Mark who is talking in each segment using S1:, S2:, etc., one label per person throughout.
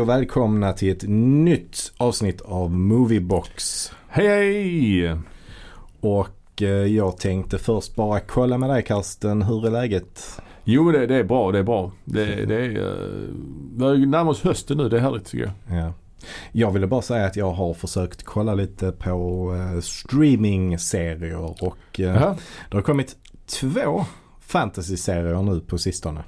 S1: och välkomna till ett nytt avsnitt av Moviebox.
S2: Hej hej!
S1: Och eh, jag tänkte först bara kolla med dig Karsten, hur är läget?
S2: Jo det, det är bra, det är bra. Det, det är, eh, vi närmar oss hösten nu, det är härligt tycker jag.
S1: Ja. Jag ville bara säga att jag har försökt kolla lite på eh, streaming-serier och eh,
S2: Jaha.
S1: det har kommit två fantasy-serier nu på sistone.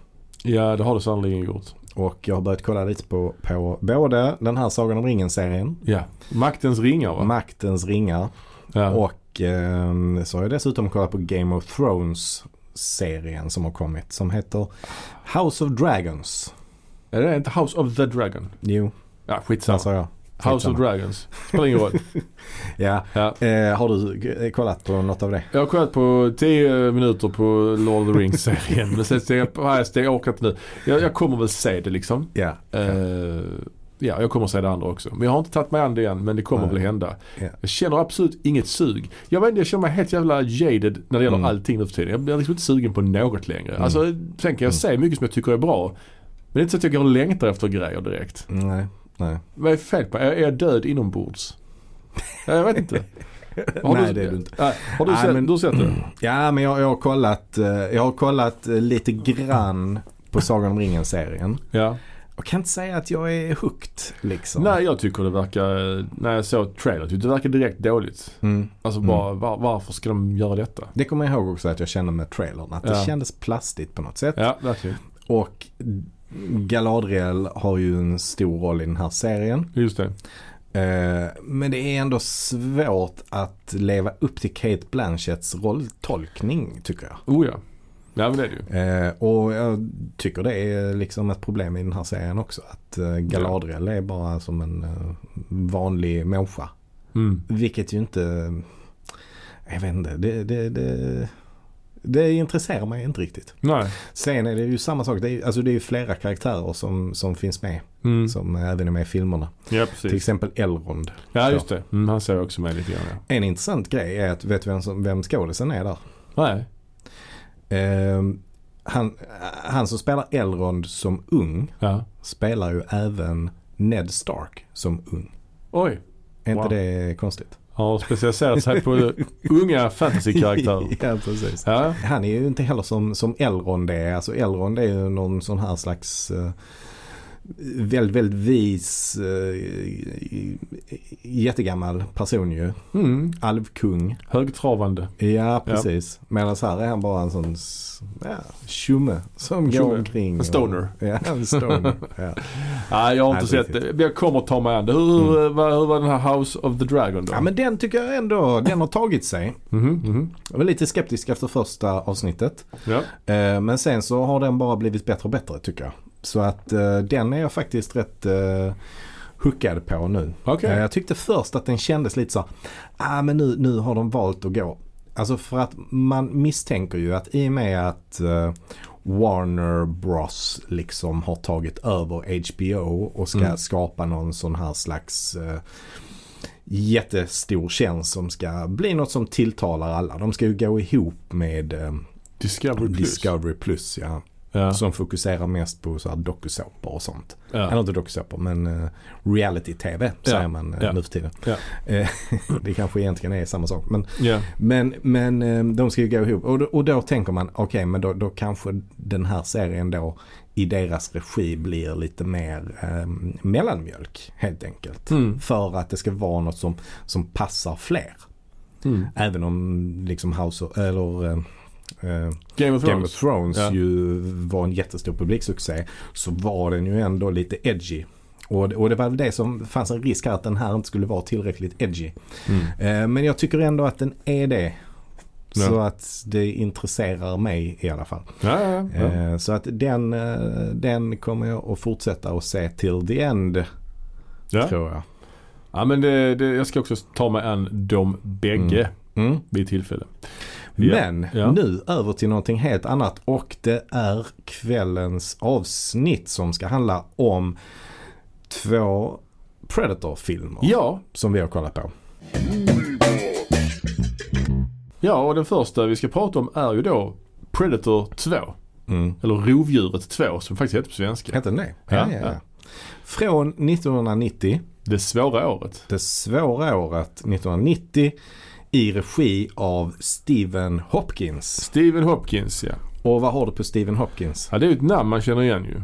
S2: Ja det har det sannerligen gjort.
S1: Och jag har börjat kolla lite på, på både den här Sagan om ringen-serien,
S2: Ja. Maktens ringar va?
S1: Maktens ringar
S2: ja.
S1: Och eh, så har jag dessutom kollat på Game of Thrones serien som har kommit som heter House of Dragons.
S2: Är det inte House of the Dragon?
S1: Jo,
S2: Ja
S1: där
S2: skitsamma.
S1: sa jag.
S2: House of
S1: Alltså, Skitsamma.
S2: Dragons. Spelar ingen roll.
S1: Ja.
S2: Ja.
S1: Eh, har du eh, kollat på något av det?
S2: Jag har kollat på 10 minuter på Lord of the Rings-serien. Men sen steg jag på, nej, steg- jag orkar inte nu. Jag, jag kommer väl se det liksom.
S1: Ja.
S2: Eh, ja, jag kommer säga det andra också. Men jag har inte tagit mig an det än, men det kommer
S1: Nej.
S2: väl hända.
S1: Ja.
S2: Jag känner absolut inget sug. Jag vet inte, jag känner mig helt jävla jaded när det gäller
S1: Mm.
S2: allting nu för tiden. Jag blir liksom inte sugen på något längre. Alltså, sen
S1: Mm.
S2: kan jag se mycket som jag tycker är bra. Men det är inte så att jag går och längtar efter grejer direkt.
S1: Nej, nej.
S2: Vad är fel på Är är jag död inombords? Ja, Jag vet inte.
S1: Nej, det är du inte.
S2: Nej, har du,
S1: Nej,
S2: sett,
S1: men- Mm.
S2: du har sett det?
S1: Ja, men jag, jag har kollat, eh, jag har kollat eh, lite grann på Sagan om ringen-serien.
S2: Ja.
S1: Jag kan inte säga att jag är hooked liksom.
S2: Nej, jag tycker det verkar... När jag såg trailern tyckte jag det verkar direkt dåligt.
S1: Mm.
S2: Alltså
S1: Mm.
S2: bara, var, varför ska de göra detta?
S1: Det kommer jag ihåg också att jag kände med trailern. Att det
S2: Ja.
S1: kändes plastigt på något sätt.
S2: Ja, verkligen.
S1: Och Galadriel har ju en stor roll i den här serien.
S2: Just det.
S1: Eh, Men det är ändå svårt att leva upp till Kate Blanchetts rolltolkning tycker jag.
S2: Oh ja. Ja men det är det ju.
S1: Eh, Och jag tycker det är liksom ett problem i den här serien också. Att eh, Galadriel är bara som en eh, vanlig människa.
S2: Mm.
S1: Vilket ju inte, jag vet inte, det, det, det, det intresserar mig inte riktigt.
S2: Nej.
S1: Sen är det ju samma sak, det är, ju- alltså det är ju flera karaktärer som, som finns med.
S2: Mm.
S1: Som eh, även är med i filmerna.
S2: Ja
S1: Till
S2: precis.
S1: exempel Elrond.
S2: Ja just det. Mm, han ser jag också med lite grann ja.
S1: En intressant grej är att, vet du vem, som- vem skådisen är där?
S2: Nej.
S1: Ehm, han, han som spelar Elrond som ung
S2: Ja.
S1: spelar ju även Ned Stark som ung.
S2: Oj.
S1: Är
S2: Wow.
S1: inte det konstigt?
S2: Har specialiserat sig på unga fantasykaraktärer.
S1: ja, precis.
S2: Ja.
S1: Han är ju inte heller som, som Elrond är. Alltså Elrond är ju någon sån här slags eh, väldigt, väldigt vis, eh, jättegammal person ju.
S2: Mm.
S1: Alvkung.
S2: Högtravande.
S1: Ja, precis. Medan här är han bara en sån s- ja, tjumme som
S2: Tjumme.
S1: går omkring.
S2: En stoner.
S1: Och, ja, en stoner. ja.
S2: Nej jag har
S1: Nej,
S2: inte
S1: inte
S2: sett det. Men Jag kommer ta mig an det. Hur, hur, var, hur var den här House of the Dragon då?
S1: ja, men den tycker jag ändå, den har tagit sig.
S2: Mhm, mhm.
S1: Jag var lite skeptisk efter första avsnittet.
S2: Ja.
S1: Eh, men sen så har den bara blivit bättre och bättre tycker jag. Så att eh, den är jag faktiskt rätt eh, hookad på nu.
S2: Okej.
S1: Eh, jag tyckte först att den kändes lite så här, ah, men nu, nu har de valt att gå. Alltså för att man misstänker ju att i och med att eh, Warner Bros liksom har tagit över HBO och ska
S2: Mm.
S1: skapa någon sån här slags eh, jättestor tjänst som ska bli något som tilltalar alla. De ska ju gå ihop med eh,
S2: Discovery Plus.
S1: Discovery Plus ja.
S2: Ja.
S1: Som fokuserar mest på så här dokusåpor och sånt. Eller
S2: Ja.
S1: inte dokusåpor men eh, reality-tv säger man eh,
S2: Ja.
S1: nu för tiden.
S2: Ja.
S1: Eh, det kanske egentligen är samma sak. Men,
S2: Ja.
S1: men, men eh, de ska ju gå ihop och, då- och då tänker man okej men då, då kanske den här serien då i deras regi blir lite mer eh, mellanmjölk helt enkelt.
S2: Mm.
S1: För att det ska vara något som, som passar fler.
S2: Mm.
S1: Även om liksom House of, eller eh, eh,
S2: Game
S1: Game
S2: of Thrones.
S1: of Thrones
S2: Ja.
S1: ju var en jättestor publiksuccé så var den ju ändå lite edgy. Och, och det var väl det som fanns en risk här att den här inte skulle vara tillräckligt edgy.
S2: Mm.
S1: Eh, men jag tycker ändå att den är det.
S2: Ja.
S1: Så att det intresserar mig i alla fall.
S2: Ja, ja, ja.
S1: Eh, så att den, eh, den kommer jag att fortsätta att se till the end
S2: ja.
S1: tror jag.
S2: ja men det, det, jag ska också ta mig an de bägge
S1: Mm.
S2: vid tillfälle. Ja.
S1: Men
S2: Ja.
S1: nu över till någonting helt annat och det är kvällens avsnitt som ska handla om två Predator-filmer
S2: Ja,
S1: som vi har kollat på.
S2: ja och den första vi ska prata om är ju då Predator 2.
S1: Mm.
S2: Eller Rovdjuret 2 som faktiskt heter på svenska.
S1: Hette den det?
S2: Ja,
S1: ja, ja. Från 1990,
S2: Det svåra året.
S1: det svåra året 1990, i regi av Stephen Hopkins.
S2: Stephen Hopkins ja.
S1: Och vad har du på Stephen Hopkins?
S2: ja. Det är ju ett namn man känner igen ju.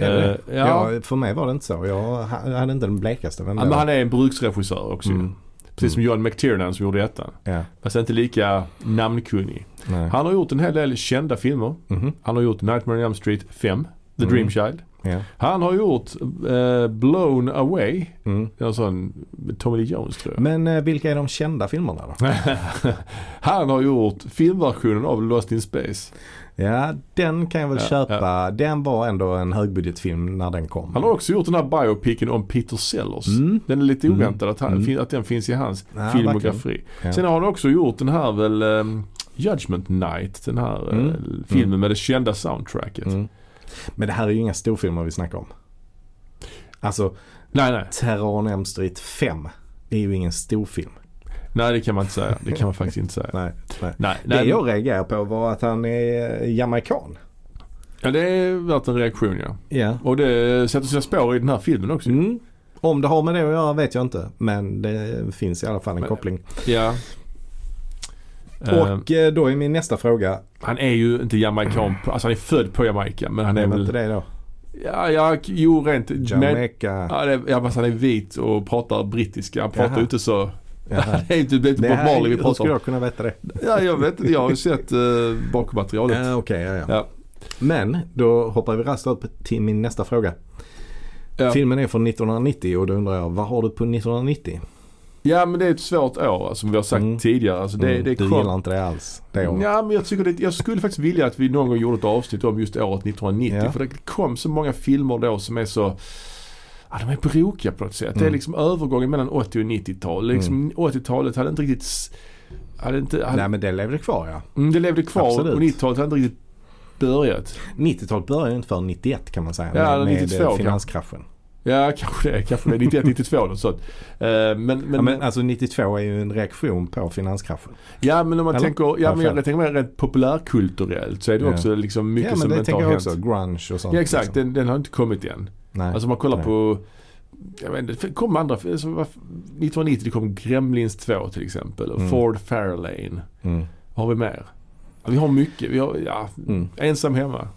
S1: Är det
S2: Eh,
S1: det?
S2: ja.
S1: Ja, för mig var det inte så. Jag hade inte den blekaste. Vem
S2: Ja,
S1: det
S2: men
S1: var.
S2: han är en bruksregissör också ju.
S1: Mm.
S2: Precis som John McTiernan som gjorde ettan.
S1: Ja,
S2: Fast inte lika namnkunnig.
S1: nej.
S2: Han har gjort en hel del kända filmer.
S1: Mhm.
S2: Han har gjort Nightmare on Elm Street 5, The
S1: Mm.
S2: Dream Child.
S1: Ja.
S2: Han har gjort eh, Blown Away,
S1: Mm.
S2: en sån med Tommy Lee Jones tror jag.
S1: Men eh, vilka är de kända filmerna då?
S2: han har gjort filmversionen av Lost in Space.
S1: Ja, den kan jag väl
S2: Ja,
S1: köpa. Den var ändå en högbudgetfilm när den kom.
S2: Han har också gjort den här biopicen om Peter Sellers.
S1: Mm.
S2: Den är lite
S1: Mm.
S2: oväntad att, han,
S1: Mm.
S2: fin- att den finns i hans
S1: Ja,
S2: filmografi.
S1: Ja.
S2: Sen har han också gjort den här väl ehm, Judgment Night, den här eh,
S1: Mm.
S2: filmen
S1: Mm.
S2: med det kända soundtracket.
S1: Mm. Men det här är ju inga storfilmer vi snackar om. Alltså,
S2: Nej, nej.
S1: Terror on Elm Street 5 är ju ingen storfilm.
S2: Nej, det kan man inte säga. Det kan man faktiskt inte säga.
S1: Nej, nej.
S2: Nej, nej.
S1: Det
S2: men-
S1: jag reagerar på var att han är jamaican.
S2: Ja, det är värt en reaktion ja.
S1: Ja.
S2: Och det sätter sina spår i den här filmen också.
S1: Mm. Om det har med det att göra vet jag inte. Men det finns i alla fall en
S2: Men-
S1: koppling.
S2: Ja. Eh,
S1: Och eh, då är min nästa fråga.
S2: han är ju inte jamaican. Alltså han är född på Jamaica. Men han är
S1: Nej, men
S2: väl...
S1: inte det då?
S2: Ja, ja, jo rent. Men,
S1: Jamaica.
S2: ja, det, ja, fast han är vit och pratar brittiska. Han pratar
S1: Jaha.
S2: ju inte så...
S1: Jaha.
S2: Det är inte det är inte
S1: Det
S2: Bob
S1: här,
S2: Marley vi
S1: hur
S2: pratar
S1: skulle
S2: om.
S1: jag kunna veta det?
S2: Ja, jag vet inte. Jag har ju sett eh, bakmaterialet.
S1: Ja, okej, ja, ja.
S2: Ja.
S1: Men då hoppar vi raskt upp till min nästa fråga.
S2: Ja.
S1: Filmen är från 1990 och då undrar jag, vad har du på 1990?
S2: ja, men det är ett svårt år alltså, som vi har sagt
S1: Mm.
S2: tidigare. Alltså, det,
S1: Mm,
S2: det är
S1: du
S2: skönt.
S1: gillar inte det alls? Det året.
S2: Ja, men jag, tycker det, jag skulle faktiskt vilja att vi någon gång gjorde ett avsnitt om just året 1990.
S1: Ja.
S2: För det kom så många filmer då som är så Ja, de är brokiga på något sätt. Det är
S1: Mm.
S2: liksom övergången mellan 80 och 90-tal. Liksom, 80-talet hade inte riktigt... s- Hade inte, hade,
S1: Nej men det levde kvar ja.
S2: Mm, det levde kvar
S1: Absolut.
S2: och 90-talet hade inte riktigt börjat.
S1: 90-talet började ju inte förrän 91 kan man säga.
S2: Ja,
S1: med-
S2: eller
S1: med
S2: 92 kanske.
S1: finanskraschen.
S2: Ja, kanske det. Kanske det. 91, 92 eller något sånt. Eh, men, men,
S1: Ja, men alltså 92 är ju en reaktion på finanskraschen.
S2: om man
S1: Eller?
S2: tänker, ja, men
S1: Varför?
S2: jag tänker mer rent populärkulturellt så är det
S1: Ja.
S2: också liksom mycket
S1: ja men
S2: som
S1: det
S2: inte har
S1: tänker jag
S2: hänt.
S1: också. Grunge och sånt.
S2: Ja exakt,
S1: liksom.
S2: den, den har inte kommit än.
S1: Nej.
S2: Alltså om man kollar
S1: Nej.
S2: på jag vet, inte, det kom andra, alltså, vad- 1990 det kom Gremlins 2 till exempel. Och
S1: Mm.
S2: Ford Fairlane.
S1: Mm.
S2: Vad har vi mer? Ja, vi har mycket. Vi har, ja,
S1: Mm.
S2: Ensam hemma.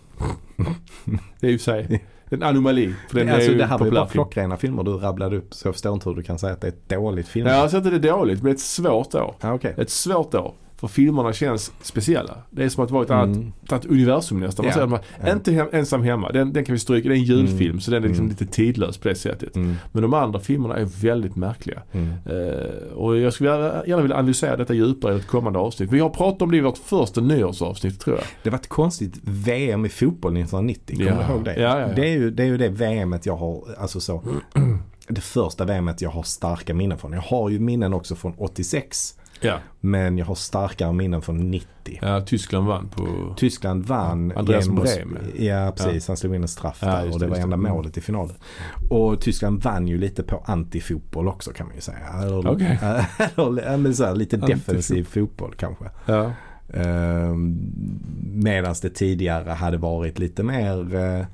S2: det är ju för sig en anomali. För den
S1: alltså
S2: är ju
S1: det här var ju
S2: populär
S1: bara
S2: film.
S1: klockrena filmer du rabblade upp så jag förstår inte hur du kan säga att det är ett dåligt film.
S2: Nej, jag säger inte det är dåligt, men det är ett svårt år.
S1: Ja, okej.
S2: Ett svårt år. För filmerna känns speciella. Det är som att vara ett annat
S1: Mm.
S2: ett annat universum nästan.
S1: Ja.
S2: Man säger, man,
S1: Ja.
S2: Inte hem, ensam hemma, den, den kan vi stryka. Det är en julfilm
S1: Mm.
S2: så den är liksom
S1: Mm.
S2: lite tidlös på det sättet.
S1: Mm.
S2: Men de andra filmerna är väldigt märkliga.
S1: Mm.
S2: Eh, och jag skulle gärna- gärna vilja analysera detta djupare i ett kommande avsnitt. Vi har pratat om det i vårt första nyårsavsnitt tror jag.
S1: Det var ett konstigt VM i fotboll 1990. Kommer
S2: Ja.
S1: du ihåg det?
S2: Ja, ja, ja.
S1: Det, är ju, det är ju det VMet jag har, alltså så. Det första VMet jag har starka minnen från. Jag har ju minnen också från 86.
S2: Ja.
S1: Men jag har starkare minnen från 90.
S2: Tyskland vann på...
S1: Tyskland vann.
S2: Andreas
S1: genom att-
S2: Brehm.
S1: Ja, precis. Han slog in en straff
S2: Ja,
S1: där
S2: just
S1: och
S2: det,
S1: det var
S2: just
S1: enda
S2: det. Mm.
S1: målet i finalen. Och Tyskland vann ju lite på antifotboll också kan man ju säga. Eller,
S2: Okej.
S1: eller, ja, men så här, lite
S2: Antifotboll.
S1: defensiv fotboll kanske.
S2: Ja.
S1: Eh, Medan det tidigare hade varit lite mer eh,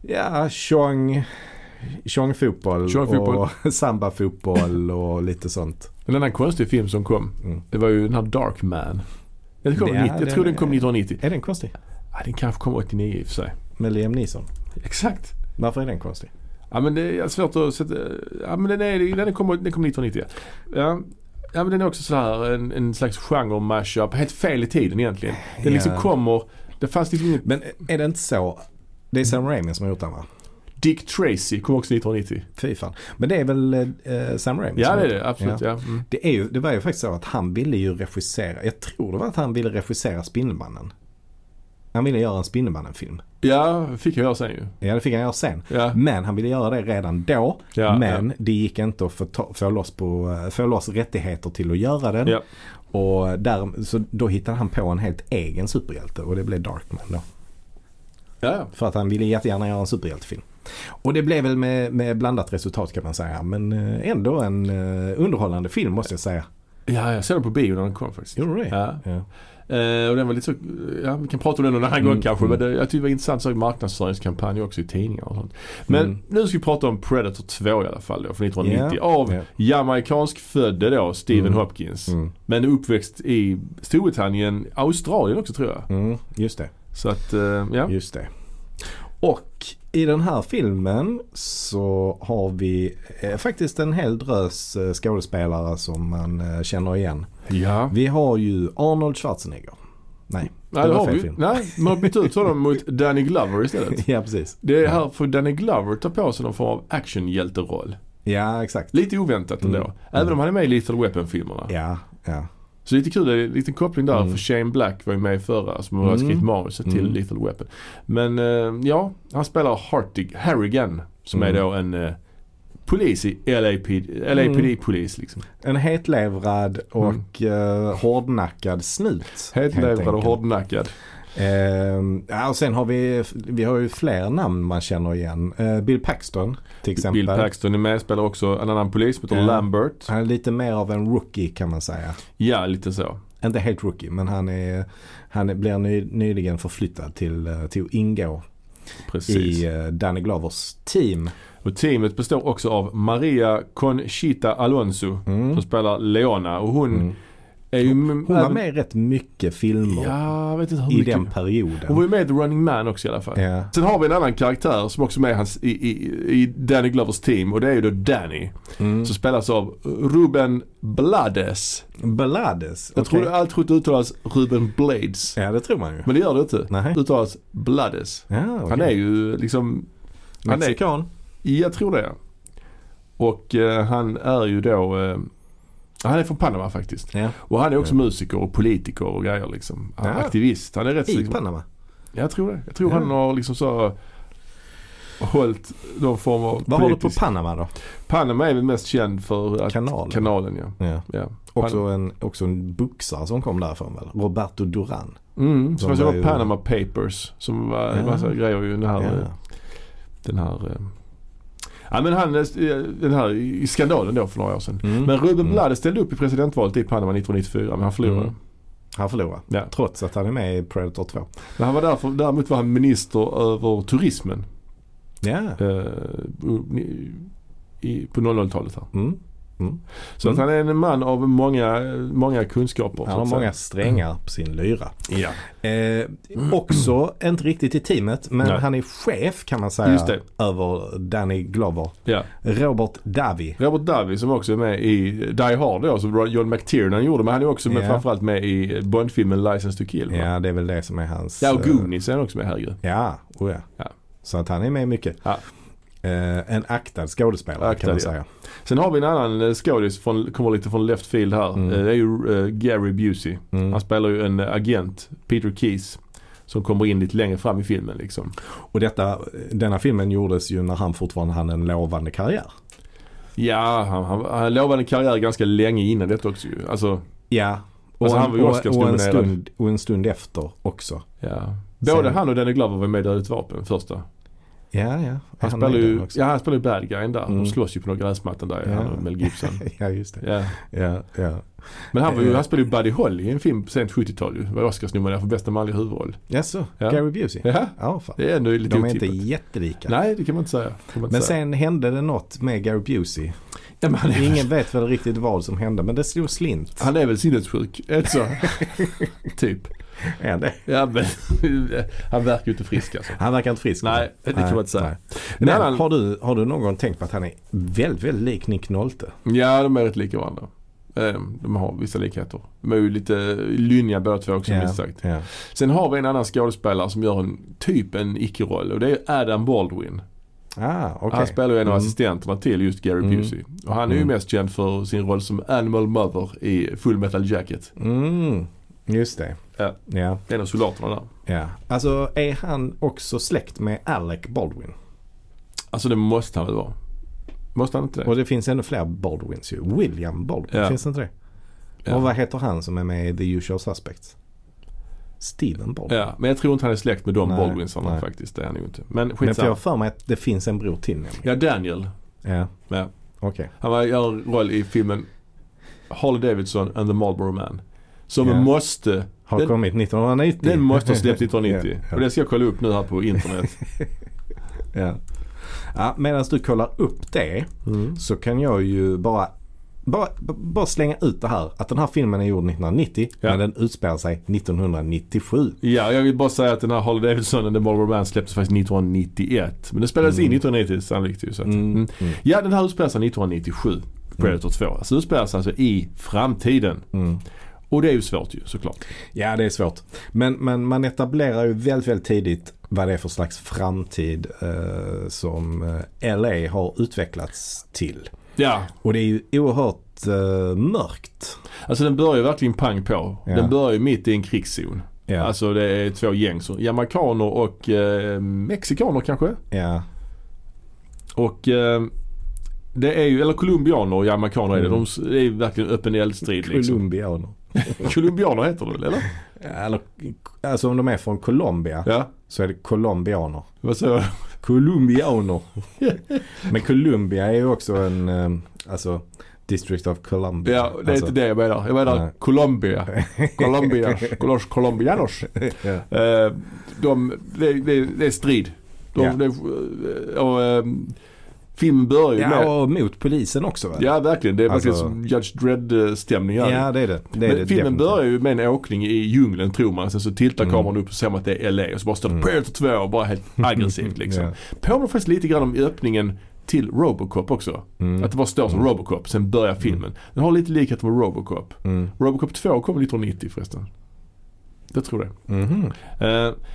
S1: ja, tjong, tjongfotboll
S2: Tjongfotboll.
S1: och sambafotboll och lite sånt.
S2: En annan konstig film som kom,
S1: Mm.
S2: det var ju den här Dark Man. Den kom
S1: Ja,
S2: 90, jag
S1: den
S2: tror den
S1: är-
S2: kom 1990.
S1: Är den konstig?
S2: Ja, den kanske kom 89 i och för sig.
S1: Med Liam Neeson.
S2: Exakt.
S1: Varför är den konstig?
S2: Ja men det är svårt att sätta... Ja men den, är, den, kom, den kom 1990 ja. ja. Ja men den är också så här en, en slags genre mashup. Helt fel i tiden egentligen. Den liksom
S1: Ja.
S2: kommer... Det fanns liksom inget...
S1: Men eh, är det inte så? Det är Sam Raimi som har gjort den va?
S2: Dick Tracy kom också 1990.
S1: Fy fan. Men det är väl eh, Sam Raimi
S2: Ja
S1: som
S2: det
S1: har
S2: är
S1: gjort
S2: det,
S1: den?
S2: absolut.
S1: Ja.
S2: Ja. Mm.
S1: Det, är ju, det var ju faktiskt så att han ville ju regissera. Jag tror det var att han ville regissera Spindelmannen. Han ville göra en Spindelmannen-film.
S2: ja, fick jag höra sen ju.
S1: Ja det fick han göra sen.
S2: Ja.
S1: Men han ville göra det redan då.
S2: Ja,
S1: men det gick inte att få, ta, få, loss på, eh, få loss rättigheter till att göra den.
S2: Ja.
S1: Och där, så då hittade han på en helt egen superhjälte och det blev Darkman då.
S2: Ja, ja.
S1: För att han ville jättegärna göra en superhjältefilm. Och det blev väl med, med blandat resultat kan man säga. Men eh, ändå en eh, underhållande film måste jag säga.
S2: Ja, jag såg den på bio när den kom faktiskt.
S1: Gjorde du det?
S2: Ja.
S1: Ja.
S2: Eh, och den var lite så, ja vi kan prata om den någon annan
S1: Mm,
S2: gång kanske.
S1: mm.
S2: Men det, jag tyckte det var intressant så marknadsföringskampanj också i tidningar och sånt. Men
S1: Mm.
S2: nu ska vi prata om Predator 2 i alla fall då, från 1990.
S1: Ja.
S2: Av
S1: Ja.
S2: jamaicansk födde då, Stephen
S1: Mm.
S2: Hopkins.
S1: Mm.
S2: Men uppväxt i Storbritannien, Australien också tror jag.
S1: Mm. Just det.
S2: Så att, eh, ja.
S1: Just det. Och i den här filmen så har vi eh, faktiskt en hel drös eh, skådespelare som man eh, känner igen.
S2: Ja,
S1: Vi har ju Arnold Schwarzenegger. Nej,
S2: Nej, det
S1: var
S2: har
S1: fel
S2: vi.
S1: film.
S2: Nej, man har bytt ut honom mot Danny Glover istället.
S1: ja precis.
S2: Det är här för Danny Glover tar på sig någon form av actionhjälteroll.
S1: Ja, exakt.
S2: Lite oväntat ändå.
S1: Mm.
S2: Även
S1: Mm.
S2: om han är med i Lethal Weapon-filmerna.
S1: Ja, ja.
S2: Så lite kul, det är en liten koppling där.
S1: Mm.
S2: För Shane Black var ju med i förra som har
S1: Mm.
S2: skrivit manuset till
S1: Mm.
S2: Lethal Weapon. Men eh, ja, han spelar Hartig Harrigan som
S1: Mm.
S2: är då en eh, polis i LAPD,
S1: Mm.
S2: LAPD-polis liksom.
S1: En hetlevrad och eh, hårdnackad snut. helt
S2: Mm. Hetlevrad och
S1: enkelt.
S2: hårdnackad.
S1: Ehm, ja, och sen har vi, vi har ju fler namn man känner igen. Eh, Bill Paxton till exempel.
S2: Bill Paxton är med, spelar också en annan polis som heter
S1: Ja.
S2: Lambert.
S1: Han är lite mer av en rookie kan man säga.
S2: Ja, lite så.
S1: Inte helt rookie men han, är, han är, blir ny, nyligen förflyttad till, eh, till att ingå
S2: Precis.
S1: i eh, Danny Glovers team.
S2: Och teamet består också av Maria Conchita Alonso
S1: Mm.
S2: som spelar Leona och hon
S1: Mm.
S2: är ju...
S1: Hon var med i rätt mycket filmer
S2: Ja, jag vet inte hur
S1: i
S2: mycket.
S1: den perioden.
S2: Hon var ju med i The Running Man också i alla fall.
S1: Ja.
S2: Sen har vi en annan karaktär som också är med i hans, i, i, i Danny Glovers team och det är ju då Danny.
S1: Mm.
S2: Som spelas av Ruben Blades.
S1: Blades.
S2: Jag
S1: okej.
S2: trodde alltid det uttalas Ruben Blades.
S1: Ja det tror man ju.
S2: Men det gör det inte.
S1: Nej.
S2: Det uttalas Blades.
S1: Ja, okej.
S2: Han är ju liksom, han är-
S1: mexikan.
S2: jag tror det. Och eh, han är ju då, eh, han är från Panama faktiskt.
S1: Ja.
S2: Och han är också
S1: Ja.
S2: musiker och politiker och grejer liksom. Han är
S1: Ja.
S2: Aktivist. Han är rätt
S1: I
S2: liksom,
S1: Panama.
S2: Ja, Jag tror det. Jag tror
S1: Ja.
S2: han har liksom så hållit någon form av
S1: Vad har du på
S2: politisk-
S1: Panama då?
S2: Panama är väl mest känd för att
S1: Kanalen.
S2: kanalen ja.
S1: Ja.
S2: ja.
S1: Också, en, också en boxare som kom därifrån väl? Roberto Duran.
S2: Mm,
S1: Som
S2: som var
S1: var ju-
S2: Panama Papers som var en
S1: Ja.
S2: massa grejer i den här, eh, den här eh, Ja men han, eh, den här i skandalen då för några år sedan.
S1: Mm.
S2: Men Ruben
S1: Mm.
S2: Blades ställde upp i presidentvalet i Panama 1994 men han förlorade.
S1: Mm. Han förlorar.
S2: Ja.
S1: Trots att han är med i Predator 2.
S2: Men han var därför, däremot var han minister över turismen
S1: Ja.
S2: eh, i, på 00-talet här.
S1: Mm. Mm.
S2: Så att
S1: Mm.
S2: han är en man av många, många kunskaper.
S1: Han har
S2: så att
S1: många strängar på sin lyra.
S2: säga. Ja.
S1: Eh, också, inte riktigt i teamet, men
S2: Nej.
S1: han är chef kan man säga
S2: Just det.
S1: över Danny Glover.
S2: ja.
S1: Robert Davi.
S2: Robert Davi som också är med i Die Hard då, som John McTiernan gjorde. Men han är också med,
S1: Ja.
S2: framförallt med i Bondfilmen License to Kill. va?
S1: Ja, det är väl det som är hans...
S2: Ja, och
S1: eh,
S2: Goonies är han också med här ju.
S1: Ja, oh ja.
S2: Ja.
S1: Så att han är med mycket.
S2: Ja.
S1: Eh, en aktad skådespelare
S2: Aktad,
S1: kan man
S2: ja.
S1: säga.
S2: Sen har vi en annan eh, skådis, från, kommer lite från left field här.
S1: Mm.
S2: Eh, Det är ju eh, Gary Busey.
S1: Mm.
S2: Han spelar ju en eh, agent, Peter Keys. Som kommer in lite längre fram i filmen liksom.
S1: Och detta, denna filmen gjordes ju när han fortfarande hade en lovande karriär.
S2: Ja, han, han, han lovade en karriär ganska länge innan detta också ju. Alltså,
S1: Ja. Och,
S2: Alltså,
S1: en,
S2: han var ju
S1: och, och, en
S2: Oscarsnominerad.
S1: stund, och en stund efter också.
S2: ja. Både
S1: Sen-
S2: han och Danny Glover var med i Dödligt Vapen, första.
S1: Ja, ja.
S2: Han,
S1: är
S2: spelar
S1: den
S2: ju,
S1: också.
S2: ja, han spelar ju bad guyen där.
S1: Mm.
S2: De slåss ju på några gräsmattan där,
S1: Ja.
S2: han och Mel Gibson.
S1: Ja, just det.
S2: ja.
S1: Ja, ja.
S2: Men han, var ju,
S1: Eh.
S2: han spelade ju Buddy Holly i en film på sent 70-tal ju. Var Oscarsnominerad för bästa manliga huvudroll.
S1: Jaså,
S2: Ja.
S1: Gary Busey? Ja,
S2: Ja,
S1: fan.
S2: det är ändå lite
S1: De är
S2: otippat.
S1: inte jättelika.
S2: Nej, det kan man inte säga. Kan man inte
S1: Men
S2: säga.
S1: sen hände det något med Gary Busey.
S2: ja, men han, är,
S1: Ingen vet väl riktigt vad som hände men det slog slint.
S2: han är väl sinnessjuk, är det så? typ.
S1: Är det?
S2: Ja, men, han verkar ju inte frisk alltså.
S1: Han verkar inte frisk.
S2: Nej, det kan man inte säga.
S1: nej.
S2: En
S1: Men
S2: annan-
S1: har, du, har du någon gång tänkt på att han är väldigt, väldigt lik Nick Nolte?
S2: Ja, de är rätt lika varandra. Eh, De har vissa likheter. De är ju lite lynniga båda två också, minst sagt.
S1: ja.
S2: Sen har vi en annan skådespelare som gör en, typ en icke-roll och det är Adam Baldwin.
S1: Ah, okej.
S2: Han spelar ju en av
S1: Mm.
S2: assistenterna till just Gary
S1: Mm.
S2: Busey. Och han är ju
S1: Mm.
S2: mest känd för sin roll som Animal Mother i Full Metal Jacket.
S1: Mm, just det.
S2: Ja.
S1: Ja,
S2: En av soldaterna där.
S1: ja. Alltså är han också släkt med Alec Baldwin?
S2: Alltså det måste han väl vara? Måste han inte det?
S1: Och det finns ännu fler Baldwins ju. William Baldwin,
S2: Ja.
S1: finns det inte det?
S2: Ja.
S1: Och vad heter han som är med i The Usual Suspects? Steven Baldwin.
S2: Ja, men jag tror inte han är släkt med de
S1: Nej,
S2: Baldwinsarna
S1: nej.
S2: faktiskt. Det är han ju inte. Men
S1: Men för jag
S2: skitsamma.
S1: har för mig att det finns en bror till nämligen.
S2: Ja, Daniel.
S1: Ja,
S2: Ja.
S1: okej.
S2: Han var, gör en roll i filmen Harley Davidson and the Marlboro Man. Som
S1: Ja.
S2: måste,
S1: Har
S2: Den-
S1: kommit 1990.
S2: den måste ha släppt 1990.
S1: Ja, ja.
S2: Och det ska jag kolla upp nu här på internet.
S1: Ja. Ja, Medan du kollar upp det så kan jag ju bara, bara, b- bara slänga ut det här. Att den här filmen är gjord 1990
S2: Ja.
S1: men den utspelar sig 1997.
S2: Ja, jag vill bara säga att den här Harley Davidson and the Marlboro Man släpptes faktiskt 1991. Men den spelades in
S1: Mm.
S2: 1990 sannolikt ju. Så att,
S1: Mm.
S2: mm.
S1: Mm.
S2: Ja, den här utspelar sig 1997. Predator 2. Alltså utspelar sig alltså i framtiden.
S1: Mm.
S2: Och det är ju svårt ju såklart.
S1: Ja det är svårt. Men, men man etablerar ju väldigt, väldigt tidigt vad det är för slags framtid eh, som eh, LA har utvecklats till.
S2: Ja,
S1: Och det är ju oerhört eh, mörkt.
S2: alltså den börjar ju verkligen pang på.
S1: Ja.
S2: Den börjar ju mitt i en krigszon.
S1: Ja.
S2: Alltså det är två gäng. Som, jamaicaner och eh, mexikaner kanske.
S1: ja.
S2: Och eh, det är ju, eller colombianer och jamaicaner är det.
S1: Mm.
S2: De det är ju verkligen öppen eldstrid liksom.
S1: Colombianer.
S2: colombianer heter det väl, eller?
S1: Ja, eller, alltså om de är från Colombia
S2: Ja,
S1: så är det colombianer.
S2: vad säger jag?
S1: Colombianer. Men Colombia är ju också en, eh, alltså District of Columbia.
S2: Ja, det är
S1: alltså,
S2: inte det jag menar. Jag menar
S1: Nej.
S2: Colombia. Colombia. Los colombianos.
S1: Ja.
S2: Eh, de, det, det, det är strid. De,
S1: Ja.
S2: det, och, eh, filmen börjar ju med...
S1: Ja, och mot polisen också va?
S2: Ja, verkligen. Det är verkligen
S1: Alltså-
S2: som Judge Dredd-stämning här.
S1: Ja, det är det. det, är
S2: Men
S1: det
S2: filmen
S1: definitivt.
S2: börjar ju med en åkning i djungeln tror man. Sen så tiltar
S1: Mm.
S2: kameran upp och ser man att det är LA och så bara står det
S1: Mm.
S2: Predator 2 och bara helt aggressivt liksom.
S1: Ja.
S2: Påminner faktiskt lite grann om öppningen till Robocop också.
S1: Mm.
S2: Att det bara står som
S1: Mm.
S2: Robocop, sen börjar filmen. Den har lite likhet med Robocop.
S1: Mm.
S2: Robocop 2 kom 1990 förresten. Det tror jag.
S1: Mhm.
S2: Eh,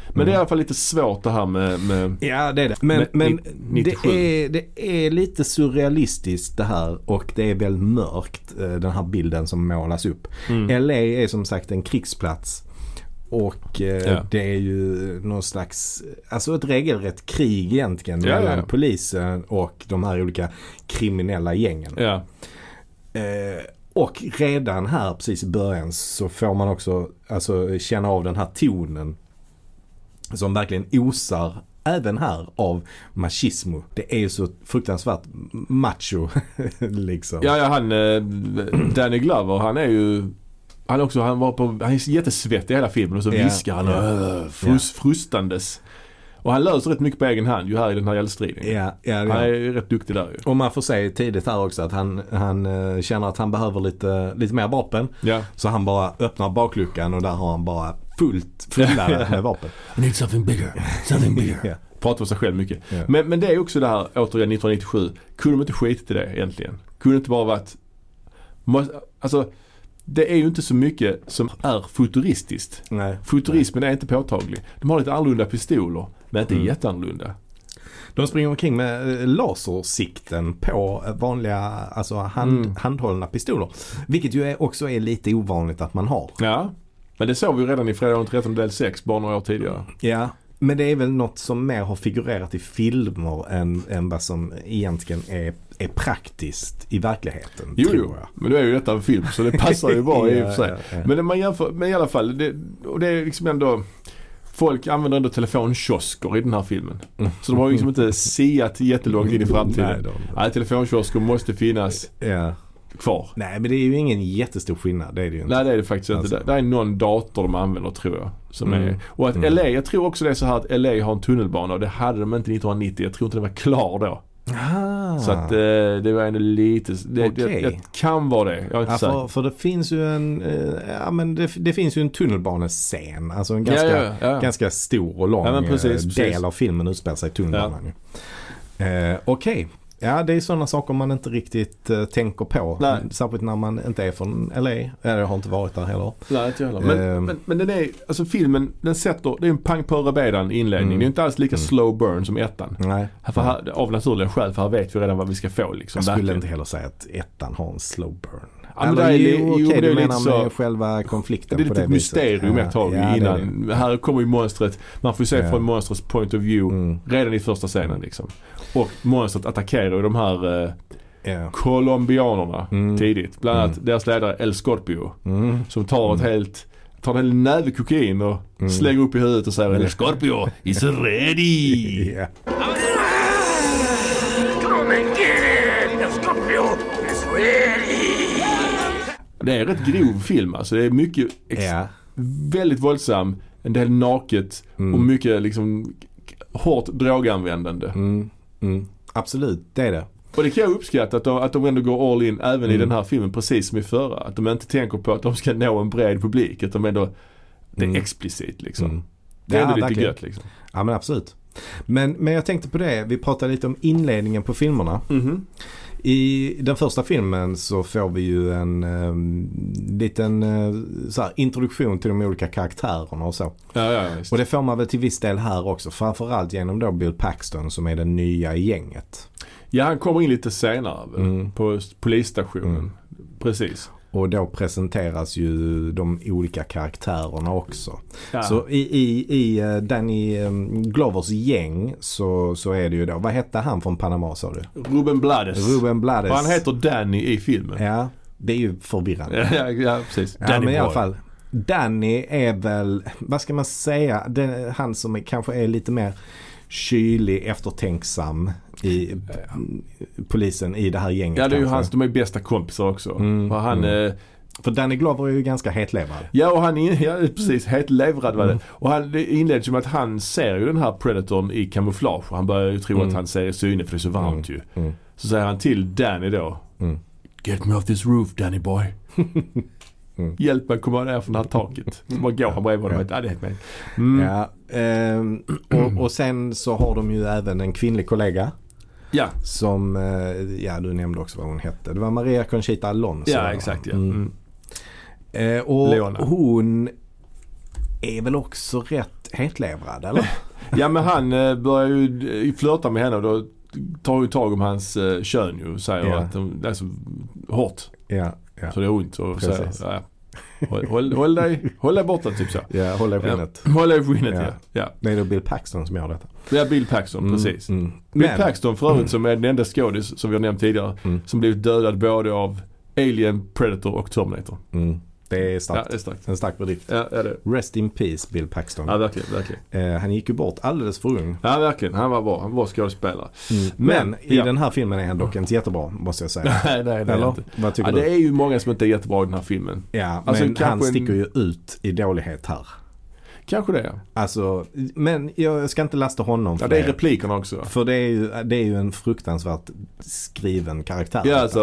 S2: men det är i alla fall lite svårt det här med, med
S1: Ja det är det. Men, men
S2: Men-
S1: det,
S2: 97.
S1: är, det är lite surrealistiskt det här och det är väldigt mörkt eh, den här bilden som målas upp.
S2: Mm.
S1: LA är som sagt en krigsplats. Och eh,
S2: Ja.
S1: det är ju någon slags, alltså ett regelrätt krig egentligen
S2: Ja, ja,
S1: mellan
S2: ja.
S1: polisen och de här olika kriminella gängen.
S2: ja.
S1: Eh, och redan här precis i början så får man också alltså, känna av den här tonen. Som verkligen osar även här av machismo. Det är ju så fruktansvärt macho liksom.
S2: Ja, ja han eh, Danny Glover han är ju han också, han var på, han är jättesvettig i hela filmen och så
S1: Ja,
S2: viskar han
S1: ja.
S2: yeah. frus, frustandes. Och han löser rätt mycket på egen hand ju här i den här eldstriden.
S1: ja, ja,
S2: Han
S1: ja.
S2: är ju rätt duktig där ju.
S1: Och man får se tidigt här också att han, han eh, känner att han behöver lite, lite mer vapen.
S2: Ja.
S1: Så han bara öppnar bakluckan och där har han bara fullt fulla med vapen.
S2: I need something bigger, something bigger.
S1: Ja.
S2: Pratar för sig själv mycket.
S1: Ja.
S2: Men, men det är också det här, återigen 1997. Kunde de inte skitit i det egentligen? Kunde det inte bara varit... Måste, alltså, det är ju inte så mycket som är futuristiskt.
S1: Nej.
S2: Futurismen är inte påtaglig. De har lite annorlunda pistoler, men inte
S1: Mm.
S2: jätteannorlunda.
S1: De springer omkring med eh, lasersikten på eh, vanliga alltså hand,
S2: Mm.
S1: handhållna pistoler. Vilket ju är, också är lite ovanligt att man har.
S2: Ja, men det såg vi ju redan i Fredag den 13 del 6, bara några år tidigare.
S1: Ja. Men det är väl något som mer har figurerat i filmer än, än vad som egentligen är, är praktiskt i verkligheten.
S2: Jo,
S1: tror
S2: jo.
S1: jag.
S2: men nu är ju detta en film så det passar ju bra i och för sig.
S1: Ja, ja, ja.
S2: Men när man jämför, men i alla fall, det, och det är liksom ändå Folk använder ändå telefonkiosker i den här filmen. Så de har ju liksom inte siat jättelångt in i
S1: Nej,
S2: framtiden.
S1: de-
S2: Nej, telefonkiosker måste finnas
S1: ja.
S2: kvar.
S1: Nej men det är ju ingen jättestor skillnad. Det är det ju inte.
S2: Nej det är det faktiskt
S1: Alltså.
S2: inte. Det, det är någon dator de använder tror jag. Som
S1: Mm.
S2: är, och att LA, jag tror också det är så här att LA har en tunnelbana och det hade de inte 1990. Jag tror inte den var klar då.
S1: Ah.
S2: Så att eh, det var ändå lite, det,
S1: Okej.
S2: det, det kan vara det. Jag är inte
S1: Ja,
S2: säker.
S1: för, för det finns ju en, eh, ja, men det, det finns ju en tunnelbanescen. Alltså en ganska,
S2: ja, ja, ja.
S1: ganska stor och lång
S2: Ja, men precis,
S1: eh,
S2: precis.
S1: del av filmen utspelar sig i tunnelbanan. ju. Eh, Okej, ja det är sådana saker man inte riktigt eh, tänker på.
S2: Nej.
S1: Särskilt när man inte är från LA. Eller jag har inte varit där heller.
S2: Nej, inte jag heller. Men,
S1: Ehm.
S2: men, men den är, alltså filmen, den sätter, det är en pang på rödbetan inledning.
S1: Mm.
S2: Det är inte alls lika slow burn som ettan.
S1: Nej.
S2: Här- För här, av naturliga skäl, för här vet vi redan vad vi ska få liksom.
S1: Jag skulle
S2: verkligen.
S1: inte heller säga att ettan har en slow burn.
S2: Ja, men
S1: Eller,
S2: det är li-
S1: jo,
S2: jo,
S1: okej,
S2: det är
S1: du
S2: lite
S1: menar
S2: så-
S1: med själva konflikten
S2: Det är
S1: på
S2: lite
S1: det
S2: ett mysterium
S1: viset.
S2: ett tag
S1: Ja, det är det.
S2: innan. Här kommer ju monstret. Man får ju se
S1: Ja.
S2: från monstrets point of view
S1: Mm,
S2: redan i första scenen liksom. Och monstret attackerar ju de här eh,
S1: ja.
S2: colombianerna
S1: Mm.
S2: tidigt. Bland annat
S1: Mm.
S2: deras ledare El Scorpio.
S1: Mm.
S2: Som tar ett helt Tar en hel näve kokain och
S1: Mm.
S2: slänger upp i huvudet och säger El Scorpio is ready!
S1: Ja.
S3: Come and get it! The Scorpio is ready!
S2: Det är en rätt grov film alltså. Det är mycket, ex-
S1: Ja.
S2: väldigt våldsam, en del naket
S1: Mm.
S2: och mycket liksom hårt droganvändande.
S1: Mm. Mm. Absolut, det är det.
S2: Och det kan jag uppskatta att de, att de ändå går all in även i
S1: Mm.
S2: den här filmen precis som i förra. Att de inte tänker på att de ska nå en bred publik. Att de ändå, det är
S1: Mm.
S2: explicit liksom.
S1: Mm.
S2: Det är
S1: Ja,
S2: ändå lite
S1: verkligen.
S2: gött liksom.
S1: Ja men absolut. Men, men jag tänkte på det, vi pratade lite om inledningen på filmerna.
S2: Mhm.
S1: I den första filmen så får vi ju en eh, liten eh, så här, introduktion till de olika karaktärerna och så.
S2: Ja, ja, visst.
S1: Och det får man väl till viss del här också. Framförallt genom då Bill Paxton som är den nya i gänget.
S2: ja, han kommer in lite senare väl,
S1: Mm.
S2: på s- polisstationen.
S1: Mm.
S2: Precis.
S1: Och då presenteras ju de olika karaktärerna också.
S2: Ja.
S1: Så i, i, i eh, Danny eh, Glovers gäng så, så är det ju då, vad hette han från Panama sa du?
S2: Ruben Blades.
S1: Ruben Blades.
S2: Och han heter Danny i filmen.
S1: Ja, det är ju förvirrande.
S2: Ja, ja, ja precis.
S1: Ja, men i alla
S2: Boy.
S1: fall. Danny är väl, vad ska man säga, den, han som är, kanske är lite mer kylig, eftertänksam i p- polisen i det här gänget.
S2: Ja, det är ju
S1: kanske.
S2: hans, de är bästa kompisar också.
S1: Mm,
S2: För han,
S1: mm.
S2: eh,
S1: För Danny Glover är ju ganska hetlevrad.
S2: Ja, och han är ja, precis hetlevrad var det.
S1: Mm.
S2: Och han, det inleds ju med att han ser ju den här predatorn i kamouflage. Och han börjar ju tro att han ser syne för det är så varmt ju.
S1: Mm.
S2: Så säger han till Danny då.
S1: Mm.
S2: Get me off this roof Danny boy.
S1: Mm.
S2: Hjälp mig komma ner från det här taket. Så bara går han bredvid honom. Ja, det är helt med. Mm.
S1: Ja, ehm, och, och sen så har de ju även en kvinnlig kollega.
S2: Ja,
S1: Som, eh, ja du nämnde också vad hon hette. Det var Maria Conchita Alonso.
S2: ja
S1: va?
S2: exakt ja.
S1: Mm.
S2: Mm.
S1: Eh, och
S2: Leona.
S1: hon är väl också rätt hetlevrad eller?
S2: Ja men han eh, börjar ju eh, flörta med henne och då tar ju tag om hans eh, kön ju och säger
S1: Ja.
S2: att de, det är så hårt
S1: ja, ja.
S2: så det är ont. Och säger,
S1: Precis.
S2: ja, håll, håll, håll, dig, håll dig borta typ så.
S1: Ja, håll i skinnet.
S2: Ja, håll dig i skinnet ja.
S1: Ja.
S2: ja.
S1: Det är då Bill Paxton som gör detta.
S2: Det är Bill Paxton precis.
S1: Mm.
S2: Bill
S1: Men,
S2: Paxton för övrigt som är den enda skådis som vi har nämnt tidigare
S1: Mm.
S2: som blivit dödad både av Alien, Predator och Terminator.
S1: mm, det är
S2: Ja,
S1: starkt.
S2: det är starkt.
S1: En stark bedrift.
S2: Ja, ja, det är. det.
S1: Rest in peace Bill Paxton.
S2: ja verkligen, verkligen.
S1: Eh, han gick ju bort alldeles för ung.
S2: Ja verkligen, han var bra. Han var bra skådespelare.
S1: Mm. Men,
S2: Men,
S1: i
S2: ja.
S1: den här filmen är han dock inte jättebra måste jag säga.
S2: Nej, nej, nej.
S1: Eller?
S2: inte.
S1: Vad tycker
S2: Ja, det
S1: du?
S2: är ju många som inte är jättebra i den här filmen.
S1: Ja, men
S2: Alltså, kanske
S1: han
S2: en-
S1: sticker ju ut i dålighet här.
S2: Kanske det ja.
S1: Alltså, men jag ska inte lasta honom för
S2: Ja, det är
S1: det.
S2: replikerna också.
S1: För det är, ju, det är ju en fruktansvärt skriven karaktär.
S2: Ja, alltså,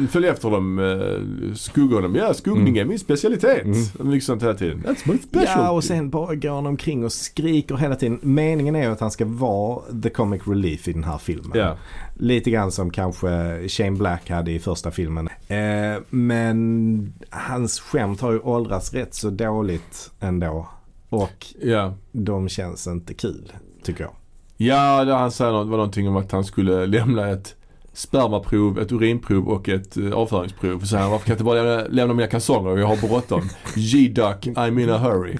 S2: eh, följ efter dem, eh, skugga honom. Ja, skuggning är min specialitet. Mm. Mycket sånt hela tiden. That's my special.
S1: Ja, och sen bara går han omkring och skriker hela tiden. Meningen är ju att han ska vara the comic relief i den här filmen.
S2: Ja.
S1: Lite grann som kanske Shane Black hade i första filmen. Eh, men hans skämt har ju åldrats rätt så dåligt ändå. Och
S2: Ja.
S1: de känns inte kul, tycker jag.
S2: Ja, där han säger något, var någonting om att han skulle lämna ett spermaprov, ett urinprov och ett eh, avföringsprov. Så han, varför kan jag inte bara lämna, lämna mina kalsonger? Jag har bråttom. G-duck, I'm in a hurry.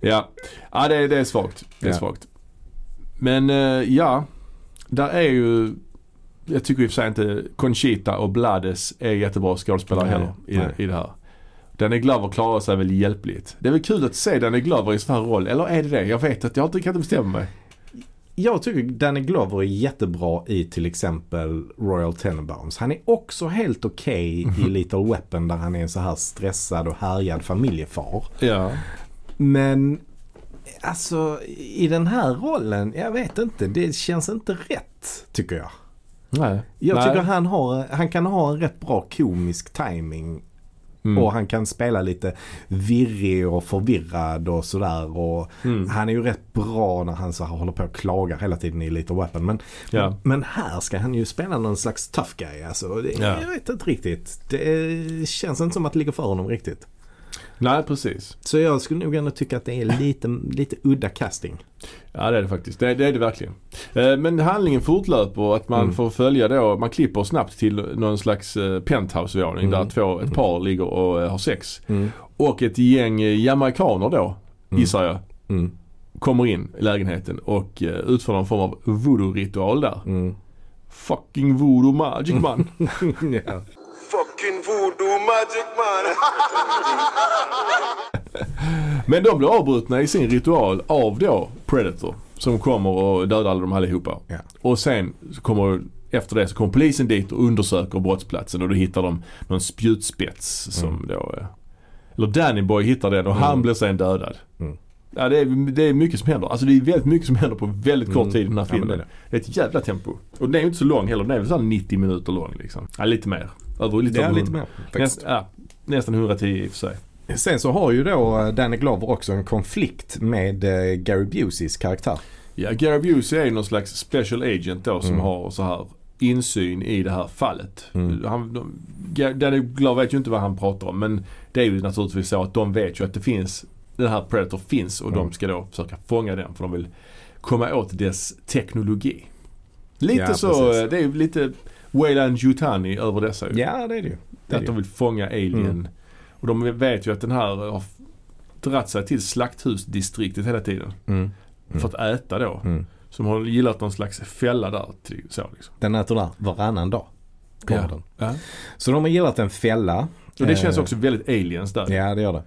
S2: Ja, ja det, är- det är svagt. Det är
S1: Ja.
S2: svagt. Men eh, ja, där är ju, jag tycker i och för sig inte Conchita och Blades är jättebra skådespelare
S1: Nej,
S2: heller
S1: nej.
S2: i, i det här. Danny Glover klarar sig väl hjälpligt. Det är väl kul att se Danny Glover i sån här roll, eller är det det? Jag vet att jag inte- kan inte bestämma mig.
S1: Jag tycker Danny Glover är jättebra i till exempel Royal Tenenbaums. Han är också helt okej i Little Weapon där han är en så här stressad och härjad familjefar.
S2: Ja.
S1: Men alltså i den här rollen, jag vet inte. Det känns inte rätt tycker jag.
S2: Nej.
S1: Jag
S2: Nej.
S1: tycker han, har, han kan ha en rätt bra komisk timing
S2: Mm.
S1: Och han kan spela lite virrig och förvirrad och sådär. Och
S2: Mm.
S1: Han är ju rätt bra när han så här håller på och klagar hela tiden i Little Weapon. Men,
S2: Ja.
S1: men här ska han ju spela någon slags tough guy. Alltså. Det,
S2: Ja.
S1: Jag vet inte riktigt. Det känns inte som att det ligger för honom riktigt.
S2: Nej, precis.
S1: Så jag skulle nog ändå tycka att det är lite, lite udda casting.
S2: Ja, det är det faktiskt. Det, det är det verkligen. Eh, Men handlingen fortlöper och att man
S1: Mm.
S2: får följa då, man klipper snabbt till någon slags eh, penthouseordning
S1: Mm.
S2: där två, ett par ligger och eh, har sex.
S1: Mm.
S2: Och ett gäng eh, jamaikaner då,
S1: Mm.
S2: gissar jag,
S1: Mm.
S2: kommer in i lägenheten och eh, utför någon form av voodoo-ritual där.
S1: Mm.
S2: Fucking voodoo magic man.
S1: ja.
S3: Fucking voodoo magic man.
S2: Men de blir avbrutna i sin ritual av då Predator som kommer och dödar alla dem allihopa.
S1: Ja.
S2: Och sen så kommer efter det så kom polisen dit och undersöker brottsplatsen och då hittar de någon spjutspets som
S1: Mm.
S2: då... eh, Eller Danny Boy hittar den och han
S1: Mm.
S2: blir sen dödad.
S1: Mm.
S2: Ja, det, är, det är mycket som händer. Alltså det är väldigt mycket som händer på väldigt kort
S1: Mm.
S2: tid i den här
S1: Ja, men
S2: filmen.
S1: det är
S2: det,
S1: det.
S2: är ett jävla tempo. Och den är ju inte så lång heller. Den är väl såhär 90 minuter lång liksom. Ja, lite mer. Över, lite
S1: Det är
S2: över
S1: lite
S2: 100.
S1: mer.
S2: Näst, ja, nästan 110 i och för sig.
S1: Sen så har ju då eh, Danny Glover också en konflikt med eh, Gary Buseys karaktär.
S2: Ja, Gary Busey är någon slags special agent då som
S1: Mm.
S2: har så här insyn i det här fallet.
S1: Mm.
S2: Han, de, Ga- Danny Glover vet ju inte vad han pratar om men det är ju naturligtvis så att de vet ju att det finns, den här Predator finns och de
S1: Mm.
S2: ska då försöka fånga den för de vill komma åt dess teknologi. Lite
S1: Ja,
S2: så,
S1: precis.
S2: eh, det är ju lite Wayland Yutani över dessa ju.
S1: Ja, det är det ju. Det är
S2: Att
S1: det
S2: de
S1: ju.
S2: vill fånga alien.
S1: Mm.
S2: Och de vet ju att den här har dratt sig till slakthusdistriktet hela tiden.
S1: Mm. Mm.
S2: För att äta då.
S1: Mm.
S2: Som har gillat någon slags fälla där. Till, så liksom.
S1: Den äter där varannan dag. kommer Den.
S2: Ja.
S1: Så de har gillat en fälla.
S2: Och det känns
S1: Eh,
S2: också väldigt aliens där.
S1: Ja, det gör det.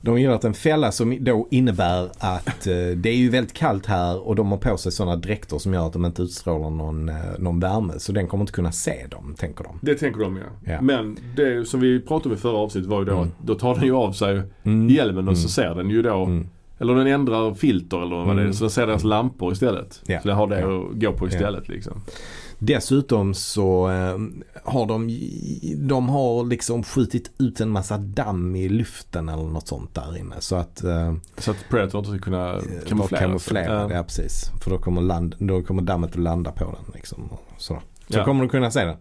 S1: De har gillat en fälla som då innebär att eh, det är ju väldigt kallt här och de har på sig sådana dräkter som gör att de inte utstrålar någon, eh, någon värme. Så den kommer inte kunna se dem, tänker de.
S2: Det tänker de ja.
S1: Ja.
S2: Men det som vi pratade om i förra avsnittet var ju då
S1: Mm.
S2: att då tar den ju av sig
S1: Mm.
S2: hjälmen och så
S1: Mm.
S2: ser den ju då
S1: Mm.
S2: Eller den ändrar filter eller vad det är.
S1: Mm.
S2: Så den ser deras lampor istället.
S1: Ja.
S2: Så den har det
S1: Ja.
S2: att gå på istället liksom.
S1: Dessutom så eh, har de, de har liksom skjutit ut en massa damm i luften eller något sånt där inne. Så att eh,
S2: Så att Predator inte ska kunna
S1: vara
S2: kamouflera.
S1: kamouflerad,
S2: Ja.
S1: Eh, ja precis. För då kommer, land, då kommer dammet att landa på den liksom. och Så, så
S2: Ja.
S1: kommer de kunna se den.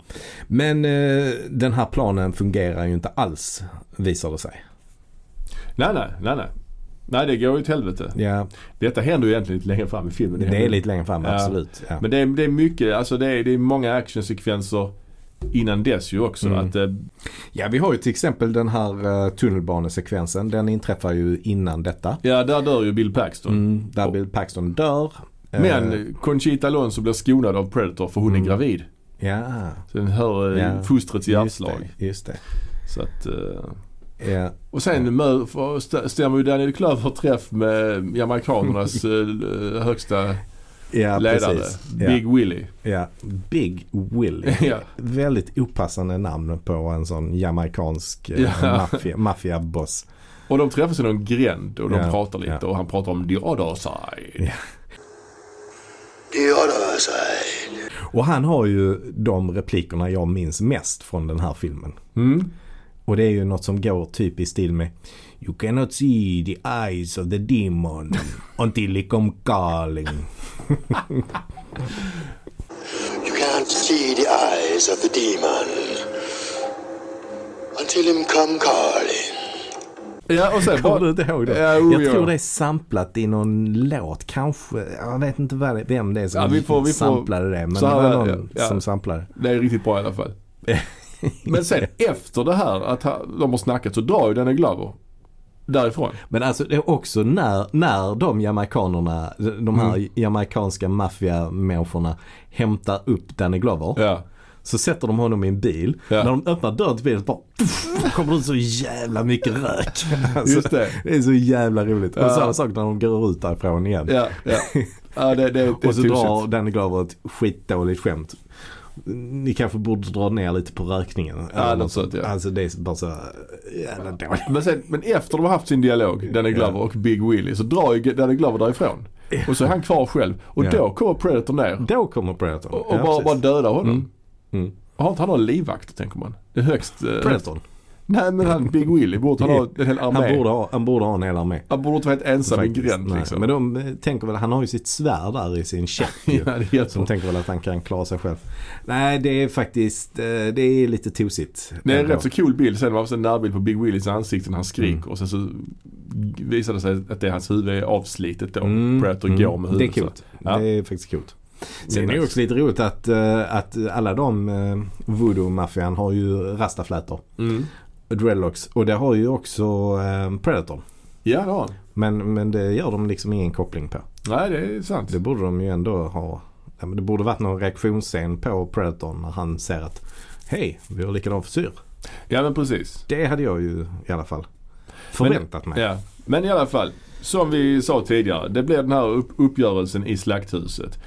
S1: Men eh, den här planen fungerar ju inte alls visar det sig.
S2: Nej, nej, nej, nej. Nej, det går ju till helvete.
S1: Ja,
S2: Detta händer ju egentligen lite längre fram i filmen.
S1: det
S2: händer-
S1: är lite längre fram,
S2: Ja.
S1: absolut. Ja.
S2: Men det är, det är mycket, alltså det är, det är många actionsekvenser innan dess ju också.
S1: Mm.
S2: Att, eh,
S1: ja, vi har ju till exempel den här eh, tunnelbanesekvensen. Den inträffar ju innan detta.
S2: ja, där dör ju Bill Paxton.
S1: Mm, där Bill Paxton dör. Eh,
S2: Men Conchita Alonso blir skonad av Predator för hon
S1: Mm.
S2: är gravid.
S1: Ja,
S2: Så den hör ja.
S1: Ja.
S2: fostrets
S1: just
S2: hjärtslag.
S1: det. Just det.
S2: Så att, eh,
S1: Ja,
S2: och sen mö- får- st- stämmer ju Daniel Klöver träff med jamaikanernas eh, högsta
S1: ja
S2: ledare.
S1: precis. Ja,
S2: Big Willie.
S1: ja. Big Willie.
S2: ja.
S1: Väldigt opassande namn på en sån jamaicansk eh,
S2: Ja.
S1: maffia- maffiaboss.
S2: Och de träffas i någon gränd och de
S1: Ja,
S2: pratar lite
S1: ja.
S2: och han pratar om the other side.
S1: Ja.
S3: The other side.
S1: och han har ju de replikerna jag minns mest från den här filmen.
S2: Mm.
S1: Och det är ju något som går typ i stil med You cannot see the eyes of the demon until he come calling.
S3: You can't see the eyes of the demon until him come calling.
S2: Ja, och sen
S1: Kommer du
S2: bara,
S1: inte ihåg det?
S2: Ja, jo,
S1: jag
S2: ja.
S1: tror det är samplat i någon låt kanske. Jag vet inte vad det- vem det är som
S2: Ja, vi får- vi får-
S1: samplade det. Men
S2: så här
S1: det
S2: är
S1: var
S2: det,
S1: någon
S2: ja.
S1: som samplade.
S2: Det är riktigt bra i alla fall. Men sen efter det här att ha- de har snackat så drar ju Danny Glover därifrån.
S1: Men alltså det är också när, när de jamaikanerna, de här
S2: Mm.
S1: jamaikanska maffiamänniskorna hämtar upp Danny Glover.
S2: Ja.
S1: Så sätter de honom i en bil.
S2: Ja.
S1: När de öppnar dörren till bilen så bara pff, kommer det ut så jävla mycket rök. Alltså,
S2: Just det.
S1: är så jävla roligt.
S2: Ja.
S1: Och samma sak när de går ut därifrån igen.
S2: Ja, ja. ja det, det, det är typ
S1: Och typ så drar
S2: drar...
S1: Danny Glover ett skitdåligt skämt. Ni kanske borde dra ner lite på rökningen.
S2: Ja,
S1: Eller
S2: något sånt, ja.
S1: Alltså det är bara så jävla dåligt.
S2: Men, sen, men efter de har haft sin dialog, Danny Glover och Big Willie, så drar ju Danny Glover därifrån. Och så är han kvar själv. Och
S1: Ja.
S2: då kommer Predator ner
S1: Då kommer Predator.
S2: och bara, bara dödar honom.
S1: Mm.
S2: Har inte han någon livvakt tänker man? Det är högst... eh,
S1: Predator.
S2: Nej men han Big Willie borde han ha en hel armé.
S1: Han borde, ha, han borde ha en hel armé.
S2: han borde inte vara helt ensam i en
S1: faktiskt.
S2: gränd
S1: Nej,
S2: liksom.
S1: Men de eh, tänker väl, han har ju sitt svärd där i sin käpp ju.
S2: ja, det hjälper.
S1: Så de tänker väl att han kan klara sig själv. Nej, det är faktiskt, eh, det är lite tosigt.
S2: Det är
S1: ändå.
S2: en
S1: Mm.
S2: rätt så cool bild. Sen var det en närbild på Big Willies ansikte när han skriker och sen så visar det sig att det, hans huvud är avslitet då.
S1: Mm,
S2: Predator
S1: mm.
S2: går med
S1: Det är
S2: huvudet. så.
S1: coolt.
S2: Ja.
S1: Det är faktiskt coolt.
S2: Det är
S1: Sen är det
S2: nice.
S1: också lite roligt att, eh, att alla de eh, voodoo-maffian har ju rastaflätor.
S2: Mm.
S1: Dreadlocks. Och det har ju också eh, Predator.
S2: Ja, det har han.
S1: Men, men det gör de liksom ingen koppling på.
S2: Nej, det är sant.
S1: Det borde de ju ändå ha. Ja, men Det borde varit någon reaktionsscen på Predator när han ser att Hej, vi har likadan frisyr.
S2: Ja, men precis.
S1: Det hade jag ju i alla fall förväntat mig.
S2: Ja. Men i alla fall, som vi sa tidigare. Det blev den här upp- uppgörelsen i Slakthuset.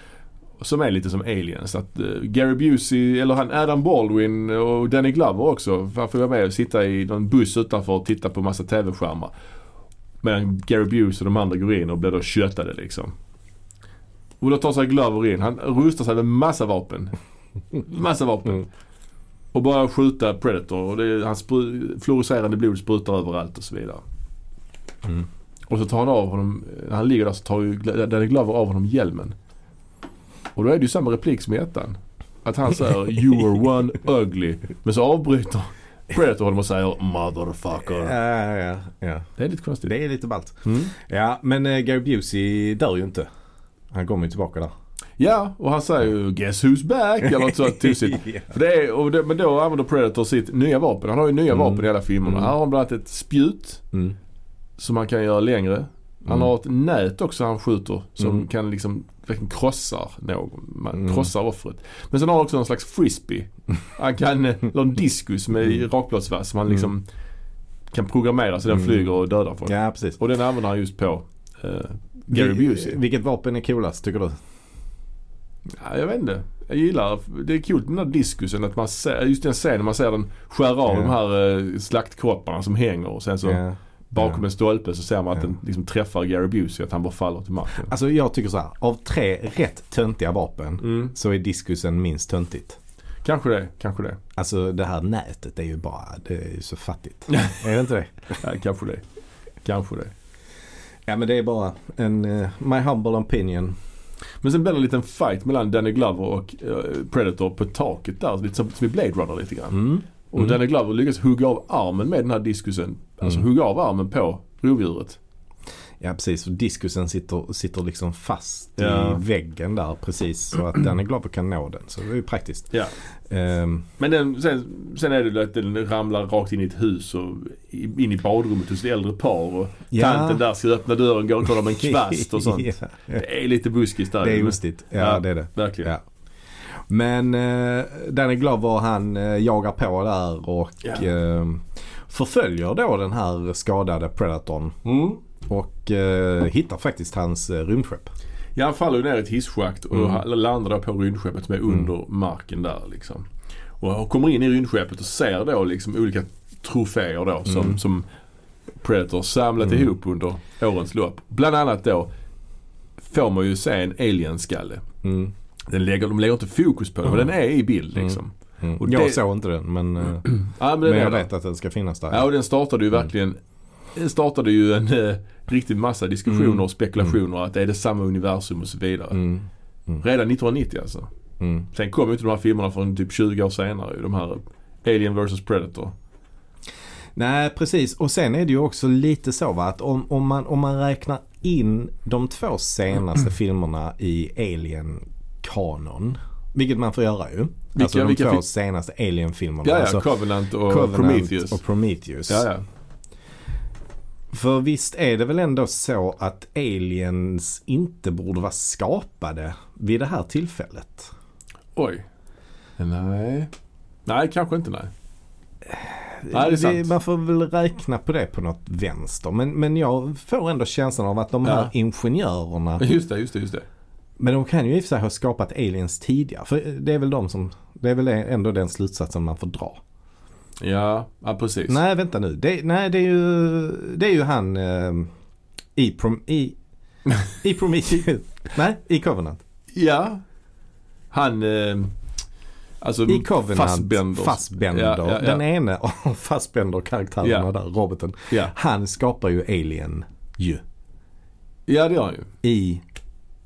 S2: Som är lite som aliens. Att eh, Gary Busey, eller han Adam Baldwin och Danny Glover också. Han får vara med och sitta i någon buss utanför och titta på massa TV-skärmar. Medan Gary Busey och de andra går in och blir då köttade liksom. Och då tar sig Glover in. Han rustar sig med massa vapen. Massa vapen.
S1: Mm.
S2: Och börjar skjuta Predator. Och det, han spru- fluorescerande blod sprutar överallt och så vidare.
S1: Mm.
S2: Och så tar han av honom, när han ligger där så tar ju Gla- Danny Glover av honom hjälmen. Och då är det ju samma replik som i ettan. Att han säger “You were one ugly” men så avbryter Predator honom och säger “Motherfucker”.
S1: Ja, ja, ja.
S2: Det är lite konstigt.
S1: Det är lite ballt.
S2: Mm.
S1: Ja, men eh, Gary Busey dör ju inte. Han kommer ju tillbaka där.
S2: Ja, och han säger ju “Guess who's back” eller något sånt tusigt.
S1: Ja.
S2: För det är, och det, men då använder Predator sitt nya vapen. Han har ju nya
S1: Mm.
S2: vapen i alla filmerna.
S1: Mm.
S2: Här har han bland annat ett spjut
S1: Mm.
S2: som han kan göra längre. Han
S1: Mm.
S2: har ett nät också han skjuter som
S1: Mm.
S2: kan liksom verkligen krossa någon. Man
S1: Mm.
S2: krossar offret. Men sen har han också någon slags frisbee. Han kan, eller en diskus med
S1: Mm.
S2: rakbladsvass som han
S1: Mm.
S2: liksom kan programmera så den
S1: Mm.
S2: flyger och dödar folk.
S1: Ja, precis.
S2: Och den använder han just på eh, Gary
S1: Vi-
S2: Busey.
S1: Vilket vapen är coolast tycker du?
S2: Ja, jag vet inte. Jag gillar, det är kul den där diskusen att man ser, just den scenen man ser den skära av
S1: Ja.
S2: de här eh, slaktkropparna som hänger och sen så
S1: Ja.
S2: bakom
S1: Ja.
S2: en stolpe så ser man att
S1: Ja.
S2: den liksom träffar Gary Busey att han bara faller till marken.
S1: Alltså jag tycker så här. Av tre rätt töntiga vapen
S2: Mm.
S1: så är diskusen minst töntigt.
S2: Kanske det, kanske det.
S1: Alltså det här nätet är ju bara, det är ju så fattigt. är det inte det?
S2: Ja, kanske det. Kanske det.
S1: Ja men det är bara en, eh, my humble opinion.
S2: Men sen blir det en liten fight mellan Danny Glover och eh, Predator på taket där. Lite som, som i Blade Runner lite grann.
S1: Mm.
S2: Och Danny Glover lyckas hugga av armen med den här diskusen. Alltså
S1: Mm.
S2: hugga av armen på rovdjuret.
S1: Ja precis, och diskusen sitter, sitter liksom fast
S2: Ja.
S1: i väggen där precis så att den är glad och kan nå den. Så det är ju praktiskt.
S2: Ja.
S1: Ehm,
S2: Men den, sen, sen är det ju att den ramlar rakt in i ett hus och i- in i badrummet hos ett äldre par. Och
S1: ja.
S2: tanten där ska öppna dörren, går och kollar med en kvast och sånt.
S1: ja.
S2: Det är lite buskis där.
S1: Det är
S2: men-
S1: ostigt. Ja,
S2: Ja.
S1: det är det.
S2: Verkligen.
S1: Ja. Men eh, Danny Glover han eh, jagar på där och
S2: Ja.
S1: eh, förföljer då den här skadade Predatorn.
S2: Mm.
S1: Och eh, hittar faktiskt hans eh, rymdskepp.
S2: Ja, han faller ju ner i ett hisschakt och
S1: Mm.
S2: ha- landar då på rymdskeppet som är under marken där liksom. Och han kommer in i rymdskeppet och ser då liksom olika troféer då som,
S1: Mm.
S2: som Predator samlat
S1: Mm.
S2: ihop under årens lopp. Bland annat då får man ju se en alienskalle.
S1: Mm.
S2: Den lägger, de lägger inte fokus på den, men
S1: Mm.
S2: den är i bild liksom.
S1: Mm.
S2: Och
S1: jag
S2: det-
S1: såg inte den men, eh,
S2: Ja, men den
S1: men
S2: är
S1: jag
S2: där.
S1: vet att den ska finnas där.
S2: Ja, och den startade
S1: Mm.
S2: ju verkligen den startade ju en eh, riktig massa diskussioner
S1: Mm.
S2: och spekulationer att är det samma universum och så vidare.
S1: Mm.
S2: Redan 1990 alltså.
S1: Mm.
S2: Sen kom ju inte de här filmerna från typ 20 år senare ju. De här Alien vs Predator.
S1: Nej precis och sen är det ju också lite så va att om, om, man, om man räknar in de två
S2: Mm.
S1: senaste filmerna i Alien-kanon. Vilket man får göra ju.
S2: Vilka-
S1: alltså de
S2: vilka
S1: två
S2: fi-
S1: senaste Alien-filmerna.
S2: Ja, ja.
S1: alltså,
S2: Covenant och
S1: Covenant
S2: Prometheus.
S1: och Prometheus.
S2: Ja, ja.
S1: För visst är det väl ändå så att aliens inte borde vara skapade vid det här tillfället?
S2: Oj. Nej. Nej, kanske inte nej. Nej, det är sant.
S1: Eh, man får väl räkna på det på något vänster. Men, men jag får ändå känslan av att de här
S2: Ja.
S1: ingenjörerna
S2: Just det, just det, just det.
S1: Men de kan ju i och för sig ha skapat aliens tidigare. För det är väl de som, det är väl ändå den slutsatsen man får dra.
S2: Ja, ja precis.
S1: Nej vänta nu. Det, nej det är ju, det är ju han eh, i, prom, i, i Prometheus. nej, i Covenant.
S2: Ja. Han... Eh, alltså
S1: I Covenant.
S2: Fassbender.
S1: Fassbender.
S2: Ja, ja, ja.
S1: Den ene av Fassbender-karaktärerna
S2: Ja.
S1: där, roboten.
S2: Ja.
S1: Han skapar ju alien ju
S2: ja, det gör han ju.
S1: i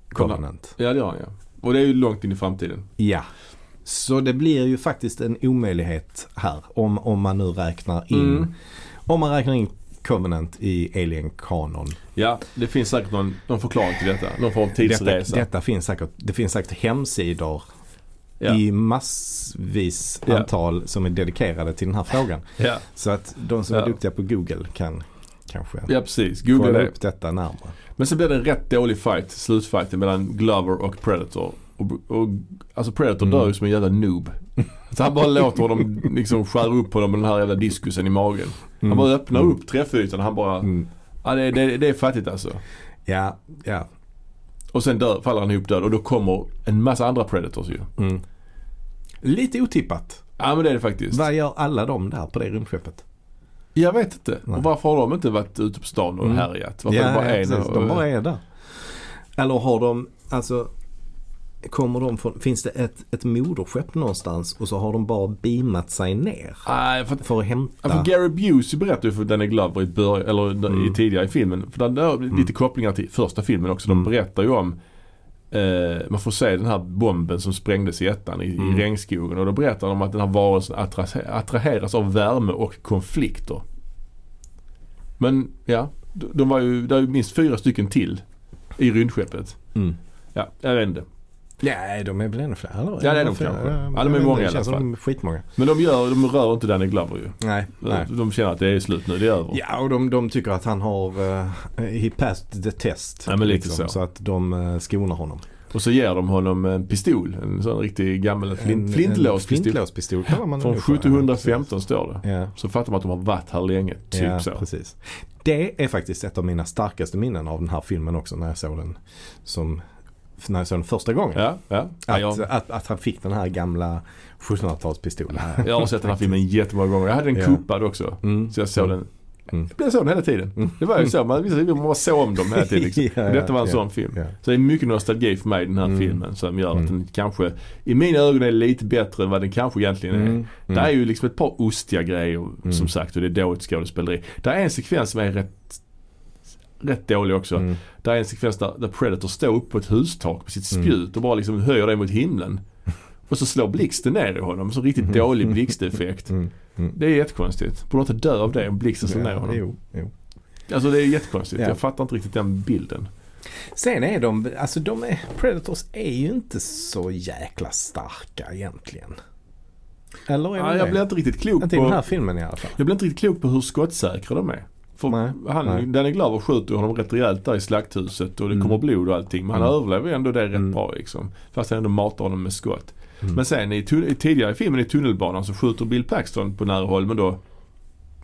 S2: Covenant.
S1: Covenant.
S2: Ja, det gör han ju. Och det är ju långt in i framtiden.
S1: Ja. Så det blir ju faktiskt en omöjlighet här om, om man nu räknar in
S2: Mm.
S1: Om man räknar in Covenant i Alien Kanon.
S2: Ja, det finns säkert någon, någon förklaring till detta. Någon form av
S1: Detta,
S2: tidsresa.
S1: detta finns säkert, det finns säkert hemsidor
S2: ja.
S1: i massvis
S2: Ja.
S1: antal som är dedikerade till den här frågan.
S2: Ja.
S1: Så att de som
S2: Ja.
S1: är duktiga på Google kan kanske
S2: ja, precis. Googla
S1: kolla
S2: det.
S1: upp detta närmare.
S2: Men sen blir det en rätt dålig fight, slutfighten mellan Glover och Predator. Och, och, alltså Predator
S1: Mm.
S2: dör ju som en jävla noob. Så han bara låter honom liksom skära upp honom med den här jävla diskusen i magen. Han bara öppnar upp träffytan och han bara,
S1: Mm.
S2: ja det, det, det är fattigt alltså.
S1: Ja, ja.
S2: Och sen dör, faller han ihop död och då kommer en massa andra predators ju.
S1: Mm. Lite otippat.
S2: Ja men det är det faktiskt.
S1: Vad gör alla de där på det rymdskeppet?
S2: Jag vet inte.
S1: Nej.
S2: Och varför har de inte varit ute på stan och
S1: Mm.
S2: härjat? Varför är det bara en?
S1: precis.
S2: och,
S1: De bara är där. Eller har de, alltså Kommer de från, finns det ett, ett moderskepp någonstans och så har de bara beamat sig ner
S2: Nej, för,
S1: för att hämta.
S2: Ja, för Gary Busey berättade ju för Danny Glover i början, eller i,
S1: Mm.
S2: tidigare i filmen. För där är lite kopplingar till första filmen också.
S1: Mm.
S2: De berättar ju om eh, man får se den här bomben som sprängdes i ettan i,
S1: Mm.
S2: i regnskogen. Och då berättar de att den här varelsen attra- attraheras av värme och konflikter. Men ja, de, de var ju, det är ju minst fyra stycken till i rymdskeppet.
S1: Mm.
S2: Ja, jag vet inte.
S1: Nej, de är väl ännu fler? Eller?
S2: Ja, det är de
S1: fler.
S2: kanske.
S1: Ja,
S2: Ja, de
S1: jag
S2: är
S1: vet inte,
S2: många
S1: det
S2: i alla
S1: känns som
S2: fall.
S1: De är skitmånga.
S2: Men de, gör, de rör inte Danny Glover ju.
S1: Nej, nej.
S2: De känner att det är slut nu, det är över.
S1: Ja, och de, de tycker att han har eh, he passed the test.
S2: Ja, men lite så.
S1: Så att de eh, skonar honom.
S2: Och så ger de honom en pistol. En sån riktig gammal
S1: En- en
S2: flint, flintlåspistol.
S1: Flintlåspistol kallar man
S2: Från
S1: det nog för.
S2: 1715 står det.
S1: Ja,
S2: Så fattar man att de har varit här länge. Typ
S1: ja
S2: så.
S1: precis. Det är faktiskt ett av mina starkaste minnen av den här filmen också när jag såg den, som, när jag såg den första gången.
S2: Ja, ja. ja
S1: Att,
S2: jag,
S1: att, att han fick den här gamla 1700-talspistolen.
S2: jag har sett den här filmen jättemånga gånger. Jag hade den
S1: Ja.
S2: kuppad också.
S1: Mm.
S2: Så jag såg
S1: Mm.
S2: den.
S1: Mm.
S2: Jag såg den hela tiden. Det var ju så. Man, vissa filmer man bara såg om dem hela tiden. Liksom.
S1: Ja, ja,
S2: Detta var en
S1: ja.
S2: sån film.
S1: Ja.
S2: Så det är mycket nostalgi för mig i den här
S1: Mm.
S2: filmen som gör
S1: Mm.
S2: att den kanske i mina ögon är lite bättre än vad den kanske egentligen är.
S1: Mm.
S2: Det är
S1: Mm.
S2: ju liksom ett par ostiga grejer som sagt och det är dåligt skådespeleri. Det är en sekvens som är rätt, rätt dålig också.
S1: Mm.
S2: Det är en sekvens där, där Predator står upp på ett hustak med sitt
S1: Mm.
S2: spjut och bara liksom höjer det mot himlen. Och så slår blixten ner i honom. Så riktigt dålig blixteffekt.
S1: Mm. Mm.
S2: Det är jättekonstigt. Borde inte dö av det om blixten slår ner
S1: Ja,
S2: honom?
S1: Jo, jo.
S2: Alltså det är jättekonstigt.
S1: Ja.
S2: Jag fattar inte riktigt den bilden.
S1: Sen är de, alltså de är, Predators är ju inte så jäkla starka egentligen. Eller är de
S2: Ja, jag
S1: det?
S2: blir inte riktigt klok
S1: Inte i den här
S2: på,
S1: filmen i alla fall.
S2: jag blir inte riktigt klok på hur skottsäkra de är. För
S1: Nej,
S2: han,
S1: nej.
S2: Danny Glover skjuter honom rätt rejält där i slakthuset och det
S1: Mm.
S2: kommer blod och allting. Men han
S1: Mm.
S2: överlever ändå det rätt
S1: Mm.
S2: bra liksom. Fast han ändå matar honom med skott.
S1: Mm.
S2: Men sen i, tun- i tidigare i filmen i tunnelbanan så skjuter Bill Paxton på nära håll men då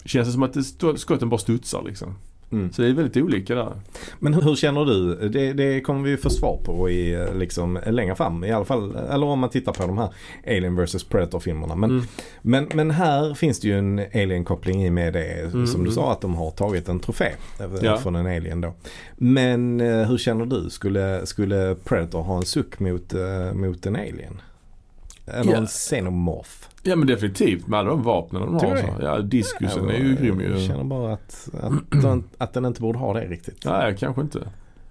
S2: känns det som att det stå- skotten bara studsar liksom.
S1: Mm.
S2: Så det är väldigt olika där.
S1: Men hur, hur känner du? Det, det kommer vi ju få svar på i, eh, liksom, längre fram i alla fall. Eller om man tittar på de här Alien vs Predator-filmerna. Men,
S2: Mm.
S1: men, men här finns det ju en alien-koppling i med det
S2: Mm,
S1: som du
S2: mm.
S1: sa att de har tagit en trofé eh,
S2: Ja.
S1: från en alien då. Men eh, hur känner du? Skulle, skulle Predator ha en suck mot, eh, mot en alien? Eller
S2: Ja.
S1: en xenomorph?
S2: Ja men definitivt med alla de vapnen de
S1: Tror
S2: har.
S1: du
S2: Så.
S1: det?
S2: Ja, diskusen är ju grym
S1: eh, Jag
S2: ju.
S1: känner bara att, att, den, att den inte borde ha det riktigt.
S2: Nej, kanske inte.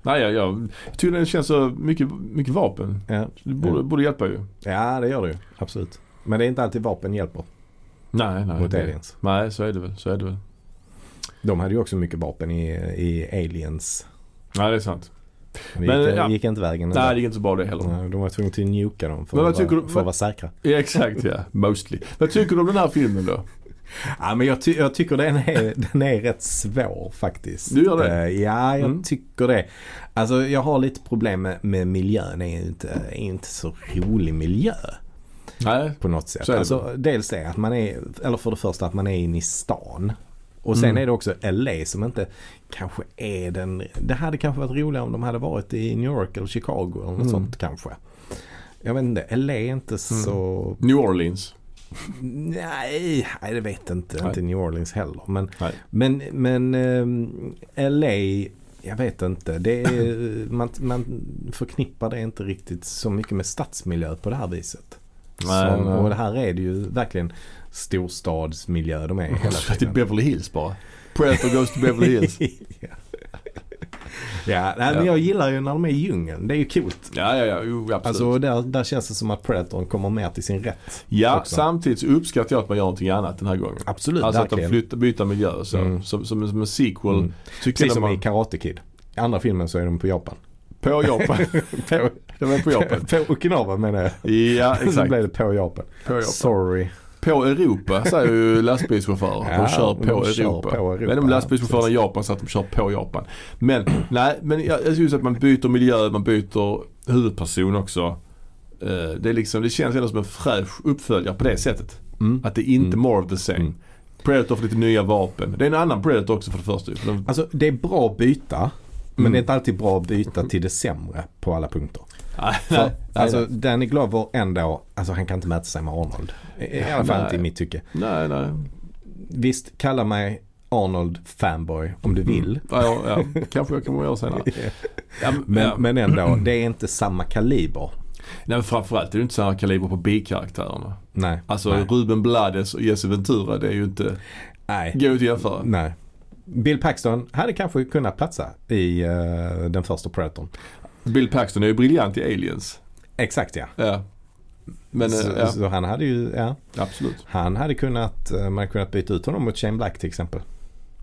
S2: Nej, jag, jag tycker den känns så mycket, mycket vapen.
S1: Ja.
S2: Det borde,
S1: Ja.
S2: borde hjälpa ju.
S1: Ja, det gör det ju. Absolut. Men det är inte alltid vapen hjälper
S2: Nej, nej.
S1: mot
S2: det-
S1: aliens.
S2: Nej, så är det väl. Så är det väl.
S1: De hade ju också mycket vapen i, i aliens.
S2: Nej, det är sant.
S1: Men det
S2: Men,
S1: gick,
S2: ja.
S1: gick inte vägen.
S2: Nej, det gick inte så bra det heller.
S1: Nej, De var tvungna att nuka dem för,
S2: Men vad
S1: att, vara-
S2: tycker du-
S1: för att vara säkra.
S2: Ja, exakt ja. Mostly. Vad tycker du om den här filmen då?
S1: Ja, men jag, ty- jag tycker den är, den är rätt svår faktiskt.
S2: Du gör det?
S1: Eh, ja, jag
S2: Mm.
S1: tycker det. Alltså jag har lite problem med, med miljön. Det är ju inte, är ju inte så rolig miljö
S2: Nej.
S1: på något sätt.
S2: Så är det
S1: Alltså, dels det att man är, eller för det första att man är inne i stan. Och sen
S2: Mm.
S1: är det också LA som inte kanske är den... Det hade kanske varit roligare om de hade varit i New York eller Chicago eller något
S2: Mm.
S1: sånt kanske. Jag vet inte, LA är inte så...
S2: New Orleans.
S1: Nej, nej, det vet jag inte.
S2: Nej.
S1: Inte New Orleans heller. Men,
S2: Nej.
S1: men, men ehm, LA, jag vet inte. Det är, man, man förknippar det inte riktigt så mycket med stadsmiljö på det här viset.
S2: Nej,
S1: Som,
S2: nej.
S1: Och det här är det ju verkligen storstadsmiljö de är hela
S2: Till
S1: tiden.
S2: Beverly Hills bara. Predator goes to Beverly Hills.
S1: ja, ja nej, men
S2: Ja.
S1: jag gillar ju när de är i djungeln. Det är ju coolt.
S2: Ja, ja, ja. Jo, absolut.
S1: Alltså där, där känns det som att Predatorn kommer mer till sin rätt.
S2: ja,
S1: också.
S2: samtidigt så uppskattar jag att man gör någonting annat den här gången.
S1: Absolut,
S2: Alltså att de
S1: verkligen.
S2: flyttar, byter miljö så.
S1: Mm.
S2: Som, som, som en sequel.
S1: Mm.
S2: Tycker
S1: Precis
S2: jag
S1: som
S2: man,
S1: i Karate Kid. I andra filmen så är de på Japan.
S2: På Japan.
S1: På,
S2: De är på Japan.
S1: på Okinawa menar jag.
S2: Ja,
S1: Så
S2: exakt.
S1: blev det på Japan.
S2: På Japan.
S1: Sorry.
S2: På Europa säger ju lastbilschaufförer.
S1: Ja,
S2: de kör på
S1: de
S2: Europa.
S1: kör på Europa,
S2: Jag vet inte om
S1: ja,
S2: lastbilschaufförerna i Japan så att de kör på Japan. Men nej, men jag, jag syns att man byter miljö, man byter huvudperson också. Eh, det, är liksom, det känns ändå som en fräsch uppföljare på det sättet.
S1: Mm.
S2: Att det är inte
S1: Mm.
S2: more of the same.
S1: Mm.
S2: Predator får lite nya vapen. Det är en annan Predator också för det första. ju. För de,
S1: Alltså det är bra byta. Men
S2: Mm.
S1: det är inte alltid bra att byta till det sämre på alla punkter.
S2: Nej,
S1: För,
S2: nej,
S1: alltså Danny Glover ändå, alltså han kan inte mäta sig med Arnold. I, i alla fall
S2: Nej.
S1: inte i mitt tycke.
S2: nej. nej.
S1: Visst, kalla mig Arnold fanboy om
S2: Mm.
S1: du vill.
S2: Ja, ja, ja. kanske jag kommer att göra senare. Ja, men,
S1: Men,
S2: ja.
S1: men ändå, det är inte samma kaliber.
S2: Nej, men framförallt är det inte så här kaliber på bikaraktärerna.
S1: Nej.
S2: Alltså
S1: nej.
S2: Ruben Blades och Jesse Ventura, det är ju inte...
S1: nej.
S2: Går ju inte att jämföra.
S1: nej. Bill Paxton hade kanske kunnat platsa i eh, den första Predatorn.
S2: Bill Paxton är ju briljant i Aliens.
S1: Exakt ja.
S2: Ja. Men eh,
S1: så,
S2: ja,
S1: så han hade ju, ja.
S2: absolut.
S1: Han hade kunnat, eh, man hade kunnat byta ut honom mot Shane Black till exempel.